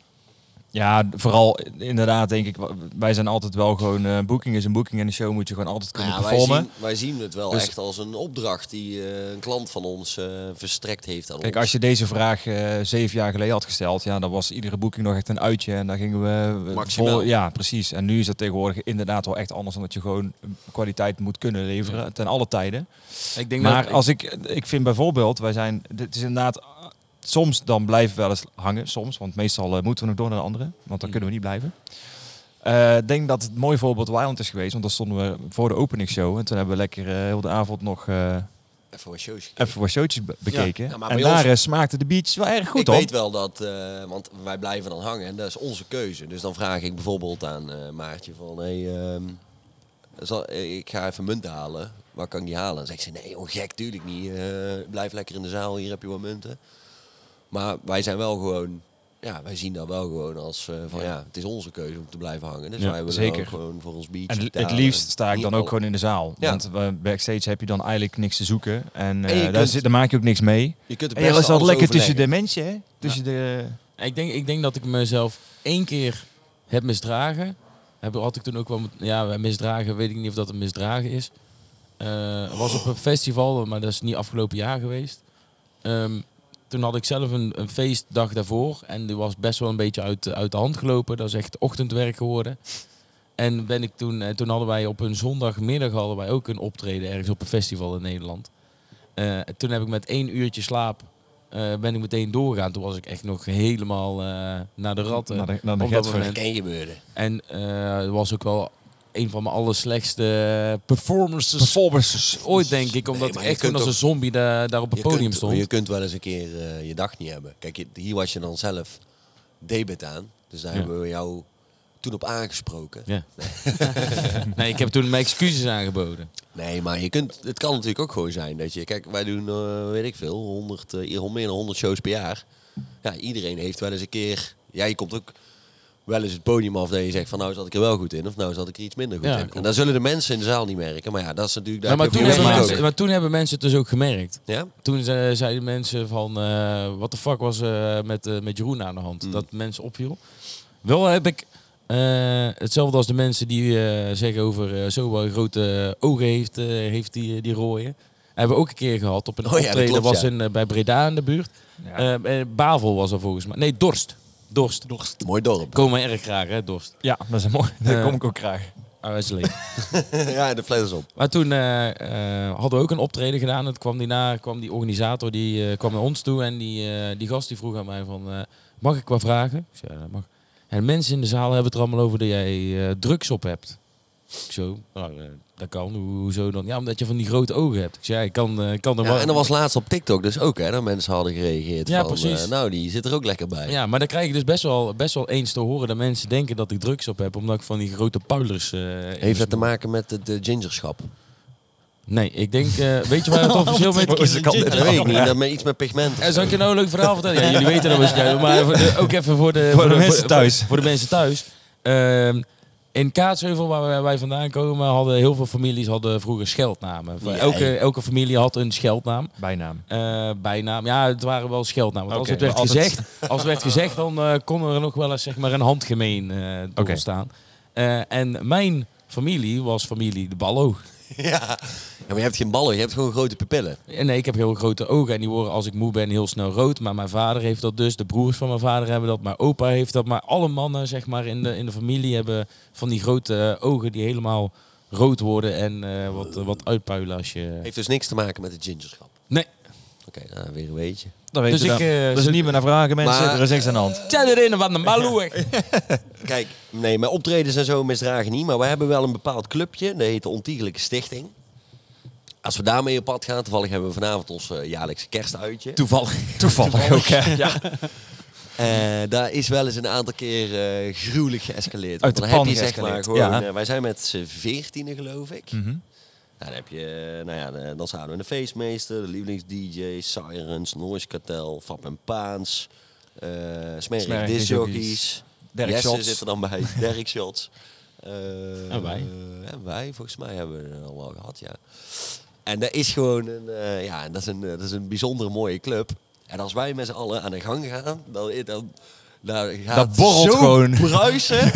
Ja, vooral inderdaad denk ik, wij zijn altijd wel gewoon, eh boeking is een boeking en een show moet je gewoon altijd kunnen Nou ja, wij, performen. zien, wij zien het wel Dus- echt als een opdracht die eh, een klant van ons eh, verstrekt heeft aan Kijk, ons. als je deze vraag eh, zeven jaar geleden had gesteld, ja, dan was iedere boeking nog echt een uitje en daar gingen we eh, Maximaal. ja, precies. En nu is dat tegenwoordig inderdaad wel echt anders, omdat je gewoon kwaliteit moet kunnen leveren ten alle tijden. ik denk Maar dat, als ik, ik vind bijvoorbeeld, wij zijn, dit is inderdaad, eh, soms dan blijven we wel eens hangen, soms, want meestal eh, moeten we nog door naar de andere, want Mm. dan kunnen we niet blijven. Eh, Ik denk dat het mooi voorbeeld Wild is geweest, want dan stonden we voor de openingsshow en toen hebben we lekker eh, heel de avond nog eh, Even wat shows gekeken. even wat showtjes be- bekeken. Ja, maar en bij ons- daar eh, smaakten de beats wel erg goed ik op. weet wel dat, eh, want wij blijven dan hangen en dat is onze keuze. Dus dan vraag ik bijvoorbeeld aan eh, Maartje van, hey, ehm, zal, eh, ik ga even munten halen. Waar kan ik die halen? Dan zegt ze, nee joh, gek, tuurlijk niet. Eh, blijf lekker in de zaal, hier heb je wat munten. Maar wij zijn wel gewoon, ja, wij zien dat wel gewoon als eh, van, ja. het is onze keuze om te blijven hangen. Dus Ja, wij willen zeker. wel gewoon voor ons beach. En het- het liefst sta ik dan ook gewoon in de zaal. Ja. Want eh, backstage heb je dan eigenlijk niks te zoeken. En, En je eh, daar, kunt- zit, daar maak je ook niks mee. Je kunt het En je beste was al alles lekker tussen de overleggen. mensen, hè? Tussen de... ik, denk, ik denk dat ik mezelf één keer heb misdragen. Heb, had ik toen ook wel... met- Ja, misdragen, weet ik niet of dat een misdragen is. Eh, was op een festival, maar dat is niet afgelopen jaar geweest. Ehm, toen had ik zelf een, een feestdag daarvoor. En die was best wel een beetje uit, uit de hand gelopen. Dat is echt ochtendwerk geworden. En ben ik toen, eh, toen hadden wij op een zondagmiddag hadden wij ook een optreden ergens op een festival in Nederland. Eh, toen heb ik met één uurtje slaap eh, ben ik meteen doorgaan. Toen was ik echt nog helemaal eh, naar de ratten. Naar de- naar de op dat getver. moment. Ken gebeuren. En eh, het was ook wel een van mijn allerslechtste eh, performances Performances. ooit, denk ik. Nee, maar Omdat ik je kunt echt gewoon als een toch- zombie daar, daar op het podium kunt, stond. Je kunt wel eens een keer eh, je dag niet hebben. Kijk, je- hier was je dan zelf debet aan. Dus daar Ja. hebben we jou toen op aangesproken. [LAUGHS] Ja. nee, ik heb toen mijn excuses aangeboden. Nee, maar je kunt, het kan natuurlijk ook gewoon zijn dat je... Kijk, wij doen, eh, weet ik veel, 100, eh, meer dan 100 shows per jaar. Ja, iedereen heeft wel eens een keer... Jij komt ook wel eens het podium af dat je zegt van nou zat ik er wel goed in of nou zat ik er iets minder goed Ja, in. klopt. En dan zullen de mensen in de zaal niet merken. Maar ja, dat is natuurlijk... Ja, daar maar, heb je toen voor hebben mensen mensen, ook. maar toen hebben mensen het dus ook gemerkt. Ja? Toen ze- zeiden mensen van, eh wat de fuck was eh, met, eh, met Jeroen aan de Mm. hand? Dat mensen opviel. Wel heb ik eh, hetzelfde als de mensen die eh, zeggen over eh zo wel grote ogen heeft, eh, heeft die, die rooien. Hebben we ook een keer gehad op een Oh ja, dat optreden klopt, was ja. in, eh, bij Breda in de buurt. Eh, eh, Bavel was er volgens mij. Nee, Dorst. Dorst. Dorst. Mooi dorp. Komen we erg graag, hè, Dorst. Ja, dat is een mooi. Daar Eh, kom ik ook graag. Ah, is leeg. [LAUGHS] ja, de fles is op. Maar toen eh, eh, hadden we ook een optreden gedaan. Het kwam die, na, kwam die organisator die, eh, kwam naar ons toe en die, eh, die gast die vroeg aan mij van, eh, mag ik wat vragen? Ik zei, ja, dat mag. En mensen in de zaal hebben het er allemaal over dat jij eh, drugs op hebt. Ik zo, nou, eh, dat kan. Ho- Hoezo dan? Ja, omdat je van die grote ogen hebt. Ik zei, ja, ik kan, eh, ik kan er Ja, wel- en dat was laatst op TikTok dus ook, hè? Dat mensen hadden gereageerd Ja, van, precies. eh, nou, die zit er ook lekker bij. Ja, maar dan krijg ik dus best wel, best wel eens te horen dat mensen denken dat ik drugs op heb, omdat ik van die grote puilers... eh, in Heeft dat te mijn- maken met het eh, gingerschap? Nee, ik denk... eh, weet je waar [LAUGHS] het officieel mee te Ze kan- Dat weet ik niet, dat met iets met pigment. En zal ik je nou een leuk verhaal vertellen? Ja, jullie weten dat waarschijnlijk. Maar voor de- ook even voor de, de mensen voor- thuis. Voor, de mensen thuis. Ehm, in Kaatsheuvel, waar wij- wij vandaan komen, hadden heel veel families hadden vroeger scheldnamen. Ja, Elke, elke familie had een scheldnaam. Bijnaam. Eh, bijnaam. Ja, het waren wel scheldnamen. Want Oké, als, het werd maar altijd- gezegd, als het werd gezegd, dan eh, kon er nog wel eens zeg maar, een handgemeen eh door Oké. staan. Eh, en mijn familie was familie de Ballo. Ja. maar je hebt geen ballen, je hebt gewoon grote pupillen. En Eh, nee, ik heb heel grote ogen en die worden als ik moe ben heel snel rood. Maar mijn vader heeft dat dus, de broers van mijn vader hebben dat, mijn opa heeft dat. Maar alle mannen zeg maar, in, de, in de familie hebben van die grote eh, ogen die helemaal rood worden en eh, wat, wat uitpuilen als je... Heeft dus niks te maken met het gingerschap. Nee, Oké, nou, weer een beetje. Dan weet Dus je ik, dat. eh, Dus zo- niet meer naar vragen, mensen. Maar- er is niks aan de hand. tja erin van de maloeg. Kijk, nee, mijn optredens en zo misdragen niet. Maar we hebben wel een bepaald clubje. Dat heet de Ontiegelijke Stichting. Als we daarmee op pad gaan, toevallig hebben we vanavond ons eh, jaarlijkse kerstuitje. [LAUGHS] Toevallig. Toevallig ook, hè? Eh, daar is wel eens een aantal keer eh, gruwelijk Uit geëscaleerd. Want de dan pan heb je zeg geëscaleerd, maar gewoon, ja. Mhm. eh, wij zijn met z'n veertienen geloof ik. Nou, dan heb je, eh, nou ja, de- dan zaten we de feestmeester, de lievelings-dj, Sirens, Noise Cartel, Fab en Paans, eh Smerig Smerig Disjockeys, discjockeys, Derek Jesse Shots. zit er dan [LAUGHS] bij, Derek Shots. Eh, En wij. eh, en wij, volgens mij hebben we er al wel gehad, ja. En dat is gewoon een, eh, ja, dat is een, eh, dat is een bijzonder mooie club. En als wij met z'n allen aan de gang gaan, dan, eh, dan, dan gaat Dat borrelt zo gewoon. [LAUGHS] bruisen.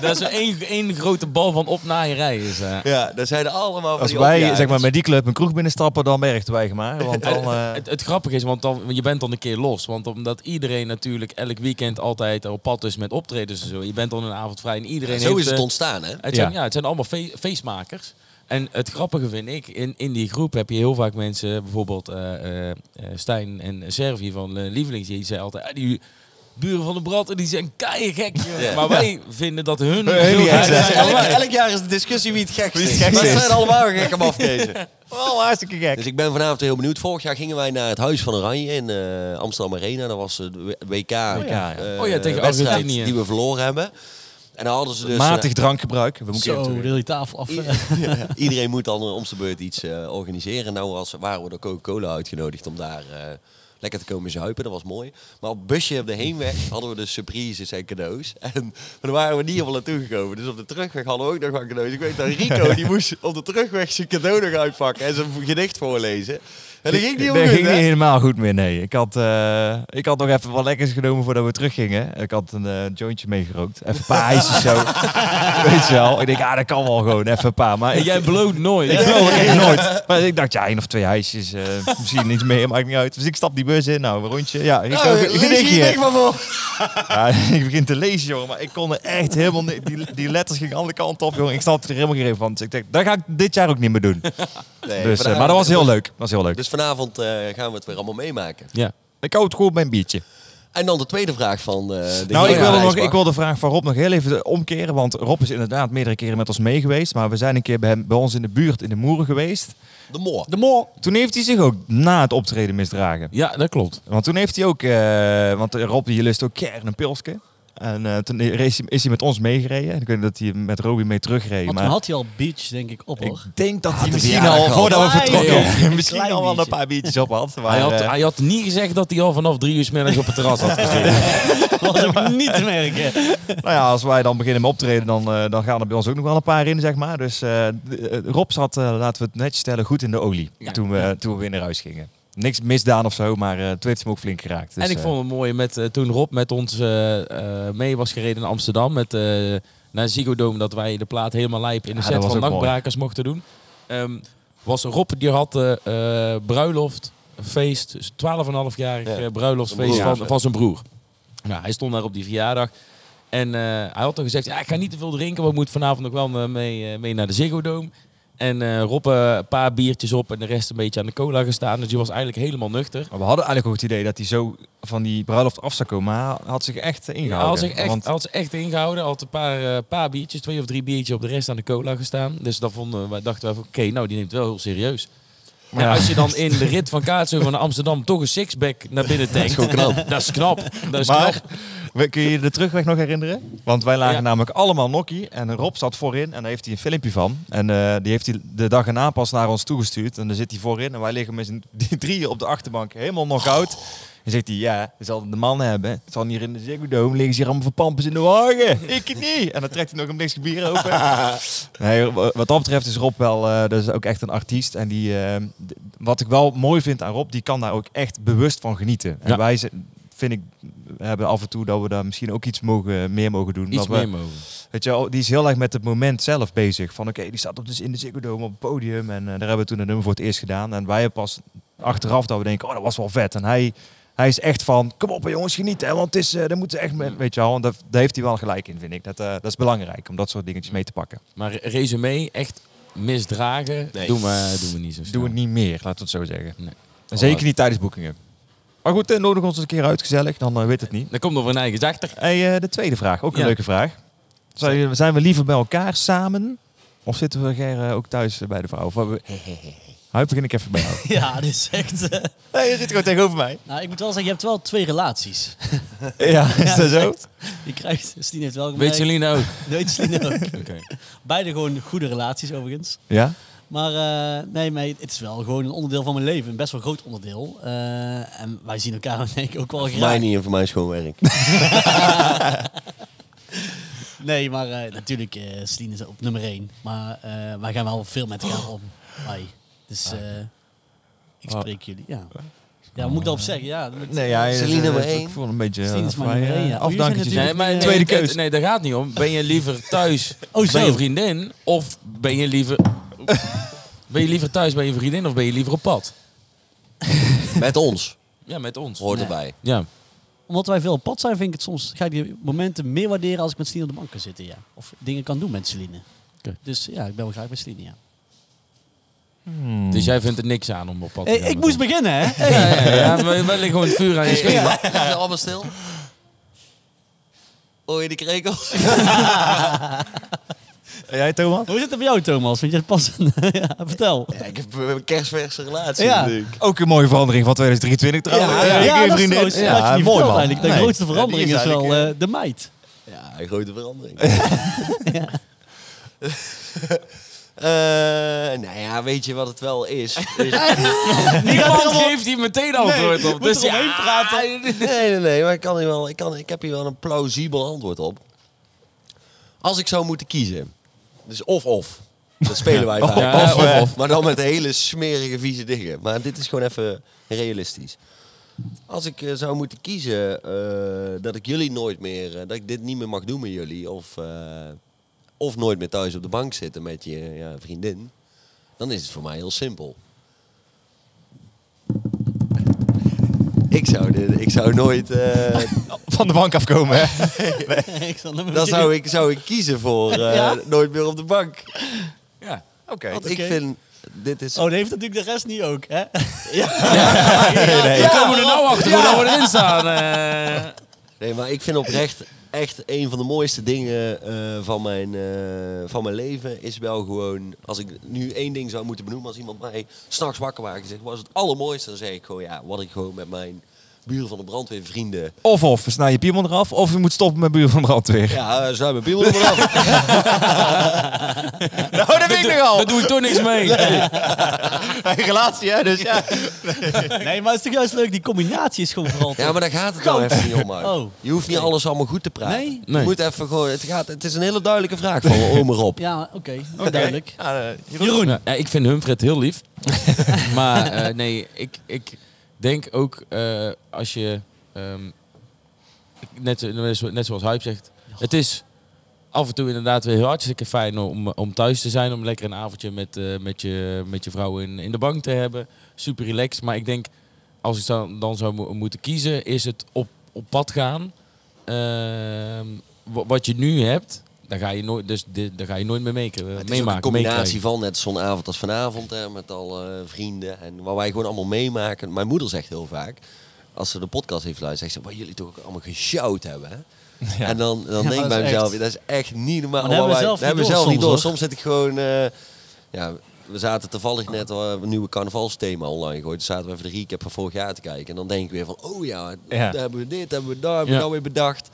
Dat is één, één grote bal van opnaaierij. Is, eh. ja, dan zijn er allemaal van Als die dus- wij opjagers. zeg maar, met die club een kroeg binnenstappen, dan merkten wij maar. Want [LAUGHS] dan, eh, Het, het grappige is, want dan, je bent dan een keer los. Want omdat iedereen natuurlijk elk weekend altijd op pad is met optredens en zo. Je bent dan een avond vrij en iedereen zo heeft... is het eh, ontstaan, hè? het zijn, ja. Ja. het zijn allemaal fe- feestmakers. En het grappige vind ik, in, in die groep heb je heel vaak mensen, bijvoorbeeld eh, eh, eh, Stijn en Servi van eh, Lievelings, die zei altijd, "Ah, die buren van de brand, die zijn keigek. joh." Ja. Maar wij vinden dat hun... Heel veel gek geiler zijn. dan elk, wij. elk jaar is de discussie wie het gekst Wie het is. gekst Maar is. zijn allemaal gek om [LAUGHS] afkezen. wel hartstikke gek. Dus ik ben vanavond heel benieuwd. Vorig jaar gingen wij naar het Huis van Oranje in eh, Amsterdam Arena. Dat was eh, de W- WK. Oh ja. Oh ja, tegen Argentinië. Die we verloren hebben. En daar hadden ze dus... eh, Matig drankgebruik. We moeten Zo, deel die tafel af. eh. I- ja, [LAUGHS] iedereen moet dan om zijn beurt iets eh, organiseren. Nou als, waren we door Coca-Cola uitgenodigd om daar eh, lekker te komen zuipen. Dat was mooi. Maar op het busje op de heenweg hadden we dus surprises en cadeaus. [LAUGHS] En maar daar waren we niet helemaal naartoe gekomen. Dus op de terugweg hadden we ook nog wat cadeaus. Ik weet dat [LAUGHS] Rico die moest op de terugweg zijn cadeau nog uitpakken en zijn gedicht voorlezen. En dat ging niet om dat ging niet hè? helemaal goed meer, nee. Ik had, eh, ik had nog even wat lekkers genomen voordat we teruggingen. Ik had een eh, jointje meegerookt. Even een paar ijsjes [LAUGHS] zo. Weet je wel. Ik denk, ah, dat kan wel gewoon. Even een paar. Maar En ik, jij bloot nooit. ik wil echt nooit. Maar ik dacht, ja, één of twee ijsjes. eh, misschien niets meer, maakt niet uit. Dus ik stap die bus in. Nou, een rondje. Ja, ik Nou, lees je gedichtje. gedicht maar voor. Ja, [LAUGHS] ik begin te lezen, jongen. Maar ik kon er echt helemaal... ni- Die, die letters gingen alle kanten op, jongen. Ik snapte er helemaal geen reet van. Dus ik dacht, dat ga ik dit jaar ook niet meer doen. Nee, Dus, eh, vanavond- maar dat was heel leuk. Dat was heel leuk. Dus vanavond eh, gaan we het weer allemaal meemaken. Ja. ik hou het goed op mijn biertje. En dan de tweede vraag van eh, de Nou, heer ik wil, Rijsbach. nog, ik wil de vraag van Rob nog heel even omkeren. Want Rob is inderdaad meerdere keren met ons mee geweest. Maar we zijn een keer bij, hem, bij ons in de buurt in de Moeren geweest. De moor. De mol. Toen heeft hij zich ook na het optreden misdragen. ja, dat klopt. Want toen heeft hij ook... eh, want Rob die lust ook kern een pilsje. En eh, toen is hij, is hij met ons meegereden. En Ik weet dat hij met Robbie mee terugreed. Want maar... toen had hij al beach, denk ik, op hoor. [LAUGHS] Ik denk dat hij de misschien verjaardag al, al. voordat we Klein vertrokken, biertje. [LAUGHS] misschien Klein al wel een biertje. paar biertjes op had. Maar, Hij had, eh, hij had niet gezegd dat hij al vanaf drie uur 's middags [LAUGHS] op het terras had gezeten. was ook niet te merken. nou ja, als wij dan beginnen met optreden, dan, eh, dan gaan er bij ons ook nog wel een paar in, zeg maar. Dus eh, d- eh, Rob zat, eh, laten we het netjes stellen, goed in de olie Ja. toen, we, toen we weer naar huis gingen. Niks misdaan of zo, maar eh toen heeft hem ook flink geraakt. Dus, en ik eh, vond het mooi met, eh, toen Rob met ons eh, eh, mee was gereden in Amsterdam met, eh naar Ziggo Dome, dat wij de plaat helemaal lijp in de Ja, dat set was van ook Nachtbrakers mochten doen. Ehm, was Rob, die had eh eh, bruiloft, feest, dus 12,5-jarig Ja. eh, bruiloftsfeest Zijn broer. van, van zijn broer. Nou, hij stond daar op die verjaardag. En eh, hij had al gezegd, ja, ik ga niet te veel drinken, want ik moet vanavond nog wel eh, mee, eh, mee naar de Ziggo Dome. En eh Rob eh, een paar biertjes op en de rest een beetje aan de cola gestaan. Dus die was eigenlijk helemaal nuchter. maar we hadden eigenlijk ook het idee dat hij zo van die bruiloft af zou komen, maar hij had zich echt eh, Ja, had ingehouden. zich echt, Want- had zich echt ingehouden. Had een paar, eh, paar biertjes, twee of drie biertjes op de rest aan de cola gestaan. Dus dan vonden, wij dachten we oké, nou die neemt het wel heel serieus. Maar Ja. als je dan in de rit van Kaatsheuvel naar Amsterdam toch een sixpack naar binnen tankt. Dat is knap. Dat is knap. Dat is Maar knap. we- kun je je de terugweg nog herinneren? Want wij lagen Ja. namelijk allemaal nokkie en Rob zat voorin en daar heeft hij een filmpje van. En eh, die heeft hij de dag [LAUGHS] erna pas naar ons toegestuurd en dan zit hij voorin en wij liggen met z'n d- drieën op de achterbank helemaal nog out. En zegt hij, ja, we zal de man hebben. Het zal hier in de Ziggo Dome liggen ze hier allemaal verpampers in de [LAUGHS] wagen. Ik niet. En dan trekt hij nog een blikje bier open. nee, wat dat betreft is Rob wel, eh, dat is ook echt een artiest. En die, eh, d- wat ik wel mooi vind aan Rob, die kan daar ook echt bewust van genieten. En Ja. wij, z- vind ik, hebben af en toe dat we daar misschien ook iets mogen, meer mogen doen. Iets Dat we- meer mogen. Weet je, wel, die is heel erg met het moment zelf bezig. Van oké, die staat op, dus in de Ziggo Dome op het podium. En eh, daar hebben we toen een nummer voor het eerst gedaan. En wij hebben pas achteraf dat we denken, oh dat was wel vet. En hij, hij is echt van, kom op hè, jongens, genieten. Hè, want het is, eh daar moeten we echt mee. Weet je wel, en dat, daar heeft hij wel gelijk in, vind ik. Dat, eh, dat is belangrijk om dat soort dingetjes mee te pakken. Maar resume, echt misdragen, Nee. doen, we, doen we niet zo snel. Doe het niet meer, laten we het zo zeggen. Nee. En zeker niet tijdens boekingen. Maar goed, eh, nodig ons eens een keer uit, gezellig. Dan eh, weet het niet. Dan komt er voor een eigen zachter. Hey, eh, de tweede vraag, ook een Ja. leuke vraag. Zijn, zijn we liever bij elkaar samen? Of zitten we Ger, eh, ook thuis eh, bij de vrouw? Of, hebben [LAUGHS] we- Huip, begin ik even bij jou. Ja, dit is echt... eh, [LAUGHS] Nee, je zit gewoon tegenover mij. nou, ik moet wel zeggen, je hebt wel twee relaties. [LAUGHS] Ja, is dat zo? echt. Je krijgt... [LAUGHS] Stien heeft wel Weet nou? gemerkt. Celine ook. Weet Stien ook. Beide gewoon goede relaties, overigens. Ja? Maar eh, nee, maar het is wel gewoon een onderdeel van mijn leven. Een best wel groot onderdeel. Eh, en wij zien elkaar [LAUGHS] denk ik ook wel Voor mij graag. niet en voor mij is gewoon werk. Nee, maar eh, natuurlijk, eh Celine is op nummer één. Maar eh, wij gaan wel veel met elkaar om. Wij. Dus eh, ik spreek jullie, ja. Ja, wat moet ik daarop zeggen? Ja, dat- Nee, ja, Celine eh, nummer ik één. voel een beetje Celine is eh, maar nummer eh, één, ja. Maar jullie zijn afdankertje. natuurlijk- Nee, maar Tweede nee, het- keus. Nee, daar gaat niet om. Ben je liever [LAUGHS] thuis Oh, zo. bij je vriendin? Of ben je liever... [LAUGHS] Ben je liever thuis bij je vriendin of ben je liever op pad? [LAUGHS] Met ons Ja, met ons. hoort Nee. erbij. Ja. Omdat wij veel op pad zijn, vind ik het soms... Ga ik die momenten meer waarderen als ik met Celine op de bank kan zitten, ja. Of dingen kan doen met Celine. Oké. Dus ja, ik ben wel graag bij Celine, ja. Dus jij vindt er niks aan om op pad te gaan ik met moest ons. beginnen, hè? Ja, ja, ja, ja, wij, wij liggen gewoon het vuur aan je schenen. Is het allemaal stil? Hoor je de krekels? Jij, Thomas? Hoe zit het bij jou, Thomas? Vind je het passend? [LAUGHS] ja, vertel. [LAUGHS] Ja, ik heb een kerstverse relatie Ja. natuurlijk. Ook een mooie verandering van 2023 trouwens. Ja, ja, Ik, eh, dat is vriendin. trouwens- dat had je niet verteld eigenlijk. De Nee. grootste Ja, die verandering is wel eigenlijk, eh, de meid. Ja, een grote [LAUGHS] verandering. [LAUGHS] Eh, nou ja, weet je wat het wel [LAUGHS] is? Is- Die man geeft hier meteen antwoord op. Dus ja, Oh, nee, nee, nee, maar ik, kan hier wel, ik, kan, ik heb hier wel een plausibel antwoord op. Als ik zou moeten kiezen, dus of-of, dat spelen wij vaak. Ja, of, Of-of. of. Maar dan met hele smerige, vieze dingen. Maar dit is gewoon even realistisch. Als ik eh, zou moeten kiezen eh, dat ik jullie nooit meer, eh, dat ik dit niet meer mag doen met jullie, of, eh, of nooit meer thuis op de bank zitten met je ja, vriendin, dan is het voor mij heel simpel. Ik zou, dit, ik zou nooit. eh, Van de bank afkomen, hè? ik zal nummer dan drie. zou ik, zou ik kiezen [LAUGHS] voor eh, Ja? nooit meer op de bank. ja. Oké. Want Oké. ik vind. Dit is. Oh, dan heeft natuurlijk de rest niet ook, hè? [LAUGHS] We komen er nou achter hoe dat we erin staan. eh. Nee, maar ik vind oprecht echt een van de mooiste dingen eh, van, mijn, eh, van mijn leven is wel gewoon. Als ik nu één ding zou moeten benoemen, als iemand mij s'nachts wakker maakt en zegt: wat is het allermooiste? Dan zeg ik gewoon ja, wat ik gewoon met mijn buren van de brandweer vrienden. Of, of, we snijden je piemel eraf. Of je moet stoppen met buur van brandweer. Ja, zou mijn piemel ervan af. [LAUGHS] Nou, dat weet ik Daar doe ik toch niks mee. [LAUGHS] relatie, hè? Dus ja. Nee, maar het is toch juist leuk? Die combinatie is gewoon vooral... Ja, maar daar gaat het nou even niet om, Mark. Oh. Je hoeft niet alles allemaal goed te praten. Nee? Nee. Je moet even gewoon, het, gaat, het is een hele duidelijke vraag van Omer Rob. Ja, oké. Duidelijk. eh, Jeroen. Ja, ik vind Humfred heel lief. [LAUGHS] maar eh, nee, ik, ik denk ook eh, als je... ehm, ik- net, zo- net zoals Huip zegt. Het is af en toe inderdaad weer heel hartstikke fijn om, om thuis te zijn. Om lekker een avondje met, eh, met, je, met je vrouw in, in de bank te hebben. Super relaxed. Maar ik denk, als ik dan, dan zou mo- moeten kiezen, is het op, op pad gaan. Ehm, wa- wat je nu hebt, daar ga je nooit, dus, dit- daar ga je nooit meer mee, Het is ook een meemaken. combinatie meekrijgen. van net zo'n avond als vanavond hè, met al eh, vrienden en wat wij gewoon allemaal meemaken. Mijn moeder zegt heel vaak, als ze de podcast heeft luisterd, zegt ze, wat jullie toch ook allemaal gesjouwd [LAUGHS] hebben. Hè? En dan, dan denk ik dat bij is mezelf, echt- dat is echt niet normaal. Maar dat hebben we Wij- zelf dat hebben we niet door zelf niet soms, door. hoor. Soms zit ik gewoon, eh, ja, we zaten toevallig net eh, een nieuwe carnavalsthema online gegooid. Dus zaten we even de recap van vorig jaar te kijken. En dan denk ik weer van, oh ja, Ja. daar hebben we dit, hebben we daar, hebben Ja. we nou weer bedacht.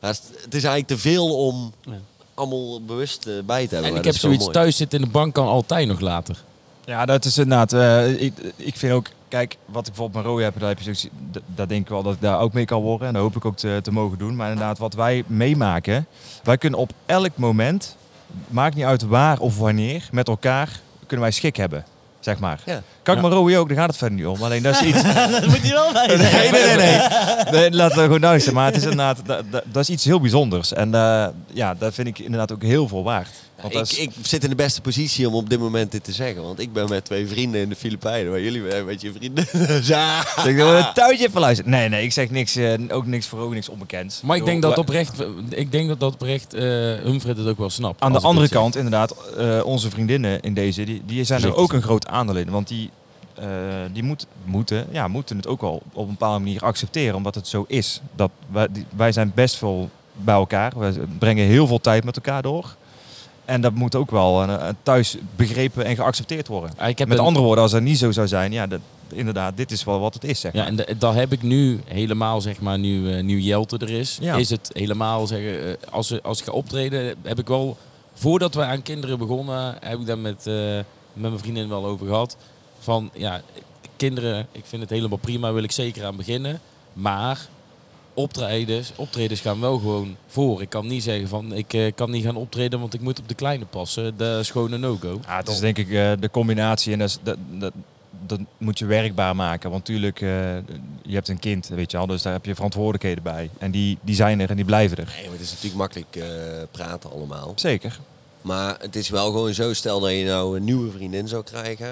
Ja, het is- het is eigenlijk te veel om Ja. allemaal bewust eh, bij te hebben. En maar ik dat heb is wel zoiets mooi. thuis zitten in de bank kan altijd nog later. Ja, dat is inderdaad. eh, ik, ik vind ook Kijk, wat ik bijvoorbeeld met Roy heb, daar, heb je zoiets- d- daar denk ik wel dat ik daar ook mee kan worden. En dat hoop ik ook te, te mogen doen. Maar inderdaad, wat wij meemaken, wij kunnen op elk moment, maakt niet uit waar of wanneer, met elkaar kunnen wij schik hebben. Zeg maar. Ja. Kan ik maar Roy ook, daar gaat het verder niet om. Alleen dat is iets, [LAUGHS] dat moet je wel bij zeggen. Nee, nee, nee. nee. nee laten we gewoon duisteren. Maar het is inderdaad, dat, dat, dat is iets heel bijzonders. En eh, ja, dat vind ik inderdaad ook heel veel waard. Want dat Ik, is, ik zit in de beste positie om op dit moment dit te zeggen. Want ik ben met twee vrienden in de Filipijnen. Waar jullie eh, met je vrienden [LAUGHS] ja. Ik denk dat we het touwtje even luisteren. Nee, nee, ik zeg niks, eh, ook niks voor ook niks onbekend. Maar ik denk bedoel, eh, dat oprecht, ik denk dat dat oprecht eh Humfred het ook wel snapt. Aan de als ik andere dit zeg. kant, inderdaad, eh, onze vriendinnen in deze, die, die zijn er Precies. ook een groot aandeel in. Want die, eh, die moet, moeten, ja, moeten het ook wel op een bepaalde manier accepteren, omdat het zo is. Dat wij, die- wij zijn best veel bij elkaar, we brengen heel veel tijd met elkaar door. En dat moet ook wel eh, thuis begrepen en geaccepteerd worden. Ah, Ik heb met een- andere woorden, als dat niet zo zou zijn, ja, dat, inderdaad, dit is wel wat het is. Zeg Ja, maar. en de- dat heb ik nu helemaal, zeg maar, nu, eh, nu Jelte er is. Ja. Is het helemaal, zeggen, eh, als, we- als ik ga optreden, heb ik wel, voordat we aan kinderen begonnen, heb ik daar met, eh, met mijn vriendin wel over gehad. Van, ja, kinderen, ik vind het helemaal prima, wil ik zeker aan beginnen. Maar optredens, optredens gaan wel gewoon voor. Ik kan niet zeggen van, ik eh, kan niet gaan optreden, want ik moet op de kleine passen. Dat is gewoon een no-go. Ja, het is denk ik eh, de combinatie en dat, is- dat, dat, dat moet je werkbaar maken. Want tuurlijk, eh, je hebt een kind, weet je al, dus daar heb je verantwoordelijkheden bij. En die, die zijn er en die blijven er. Nee, maar het is natuurlijk makkelijk eh, praten allemaal. Zeker. Maar het is wel gewoon zo, stel dat je nou een nieuwe vriendin zou krijgen.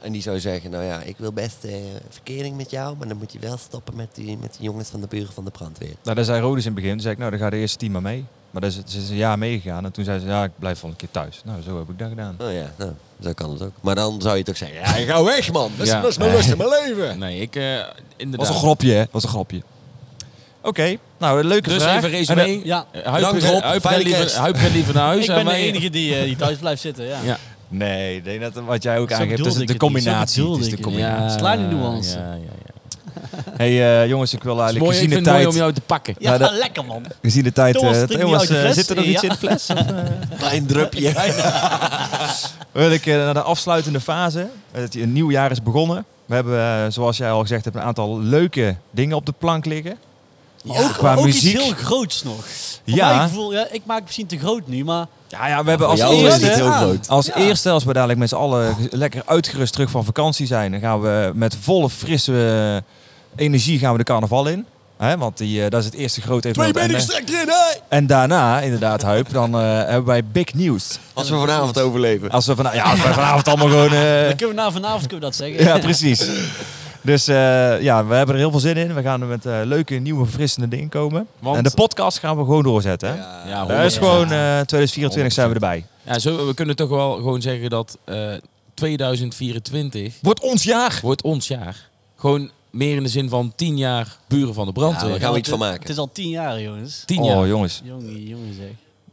En die zou zeggen, nou ja, ik wil best eh, verkering met jou, maar dan moet je wel stoppen met die, met die jongens van de buren van de brandweer. Nou, daar zei Rodus in het begin, toen zei ik, nou, dan gaat de eerste team maar mee. Maar daar is, ze is een jaar meegegaan en toen zei ze, ja, ik blijf wel een keer thuis. Nou, zo heb ik dat gedaan. Oh ja, nou, zo kan het ook. Maar dan zou je toch zeggen, ja, ga weg man, dat is, Ja. dat is mijn lust in mijn leven. Nee, ik, eh inderdaad. was een grapje, hè? was een grapje. Oké, nou, een leuke dus vraag. even En, eh, resume. Ja, Dank Rob, fijne kerst. Huip liever naar huis. ik en ben de wij- enige die, eh, die thuis blijft zitten, ja. Ja. Nee, ik denk dat wat jij ook Zo aangeeft, bedoelde dat is ik de het niet, zo combinatie. Het bedoelde is ik de het combinatie. Sla die nuance. Ja, ja, ja. hey, eh, jongens, ik wil Het is eigenlijk mooi, ik gezien vind de het mooi tijd... om jou te pakken. Ja, Nou, dat- lekker man. Gezien de tijd, Thomas eh, drinkt niet jongens, uit de eh, fles. zit er nog iets Ja. in de fles? Of, eh? [LAUGHS] Klein drupje. Wil ik eh, naar de afsluitende fase. eh, Het nieuw jaar is begonnen. We hebben, eh, zoals jij al gezegd hebt, een aantal leuke dingen op de plank liggen. Maar ook, Qua ook muziek. iets heel groots nog. Voor Ja. mijn gevoel, ja, ik maak misschien te groot nu, maar Ja, ja we hebben als jou is het niet heel eerste... groot. Als eerste, als we dadelijk met z'n allen ge- lekker uitgerust terug van vakantie zijn, dan gaan we met volle frisse eh, energie gaan we de carnaval in. Hè, want die, eh, dat is het eerste grote evenement. En, eh, gestrekt erin, hè? en daarna, inderdaad, Huip, dan eh, hebben wij big news. Als we vanavond overleven. Als we, vana- ja, als we vanavond allemaal gewoon... eh, dan kunnen we na vanavond kunnen we dat zeggen. Ja, precies. Dus eh, ja, we hebben er heel veel zin in. We gaan er met eh, leuke, nieuwe, verfrissende dingen komen. Want- En de podcast gaan we gewoon doorzetten. Hè? Ja, Dat is 100%. gewoon eh, 2024 zijn we erbij. Ja, zo, we kunnen toch wel gewoon zeggen dat eh, 2024 Wordt ons jaar! wordt ons jaar. Gewoon meer in de zin van 10 jaar buren van de Ja, brandweer. we gaan we iets van Het maken. is al tien jaar, jongens. 10 jaar. Oh [LAUGHS] jongens, Jongen, jongen zeg.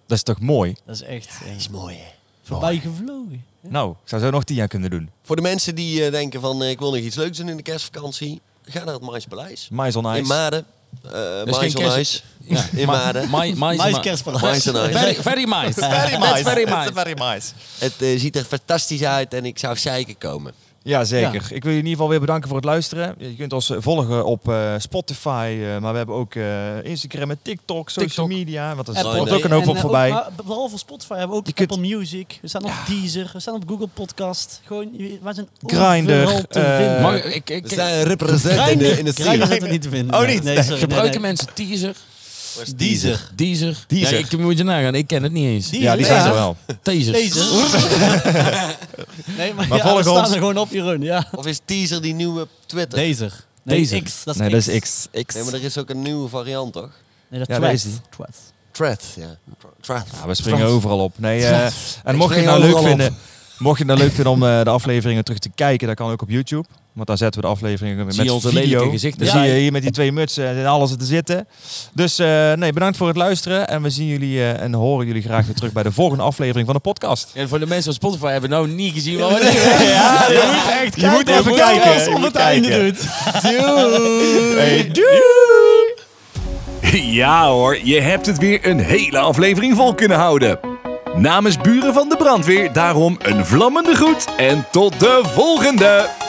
dat is toch mooi? Dat is echt eh, is mooi, hè? voorbij gevlogen. Nou, ik zou zo nog 10 jaar kunnen doen. Voor de mensen die eh, denken van, eh, ik wil nog iets leuks doen in de kerstvakantie. Ga naar het Maïs Paleis. Mais on In ice. Maden. Eh is Maïs geen on kerst- Ice. Ja. [LAUGHS] In Maden. Mais Maïs kerstpaleis. Maïs on Ice. [LAUGHS] Very, very mice. Very mice. Very mice. Het eh, ziet er fantastisch uit en ik zou zeker komen. Ja, zeker. Ik wil je in ieder geval weer bedanken voor het luisteren. Je kunt ons eh, volgen op eh, Spotify, eh, maar we hebben ook eh, Instagram en TikTok, social TikTok. media. Want er Apple. komt ook een hoop En, op eh, voorbij. ook- maar behalve Spotify hebben we ook Je kunt- Apple Music. We staan op Deezer. We staan op Google Podcast. Gewoon, je- wij zijn Grindr, overal te eh, vinden. Mag ik- ik- ik- We staan represent in de, in de Grindr scene. zit er niet te vinden. Oh, niet? Nee, sorry, nee, Gebruiken nee. mensen teaser? Deezer. Deezer? Deezer. Ja, ik moet je nagaan, ik ken het niet eens. Deezer. Ja, die zijn Ja. er wel. Teaser. Deezer. [LAUGHS] nee, maar, Maar ja, volg we staan ons. er gewoon op, Jeroen. Ja. Of is teaser die nieuwe Twitter? Nee, Deezer. Nee, Deezer. X. Dat is Nee, X. dat is X. X. maar er is ook een nieuwe variant, toch? Nee, dat Ja, Threads. dat is Threads. Thread, ja. Thread. Ja, we springen overal op. Nee, eh, en mocht je het spring nou leuk overal op. vinden, mocht je het nou leuk vinden om eh, de afleveringen terug te kijken, dat kan ook op YouTube. Want daar zetten we de afleveringen met Zie je onze video. lelijke gezichten. Dan Ja. zie je hier met die twee mutsen en alles te zitten. Dus eh, nee, bedankt voor het luisteren. En we zien jullie eh, en horen jullie graag weer terug bij de volgende aflevering van de podcast. En voor de mensen op Spotify hebben nou niet gezien wat we doen. Ja, je moet echt Je moet even kijken. Als Je op moet het einde kijken. doet. Hey, doei. Ja hoor, je hebt het weer een hele aflevering vol kunnen houden. Namens Buren van de Brandweer daarom een vlammende groet en tot de volgende!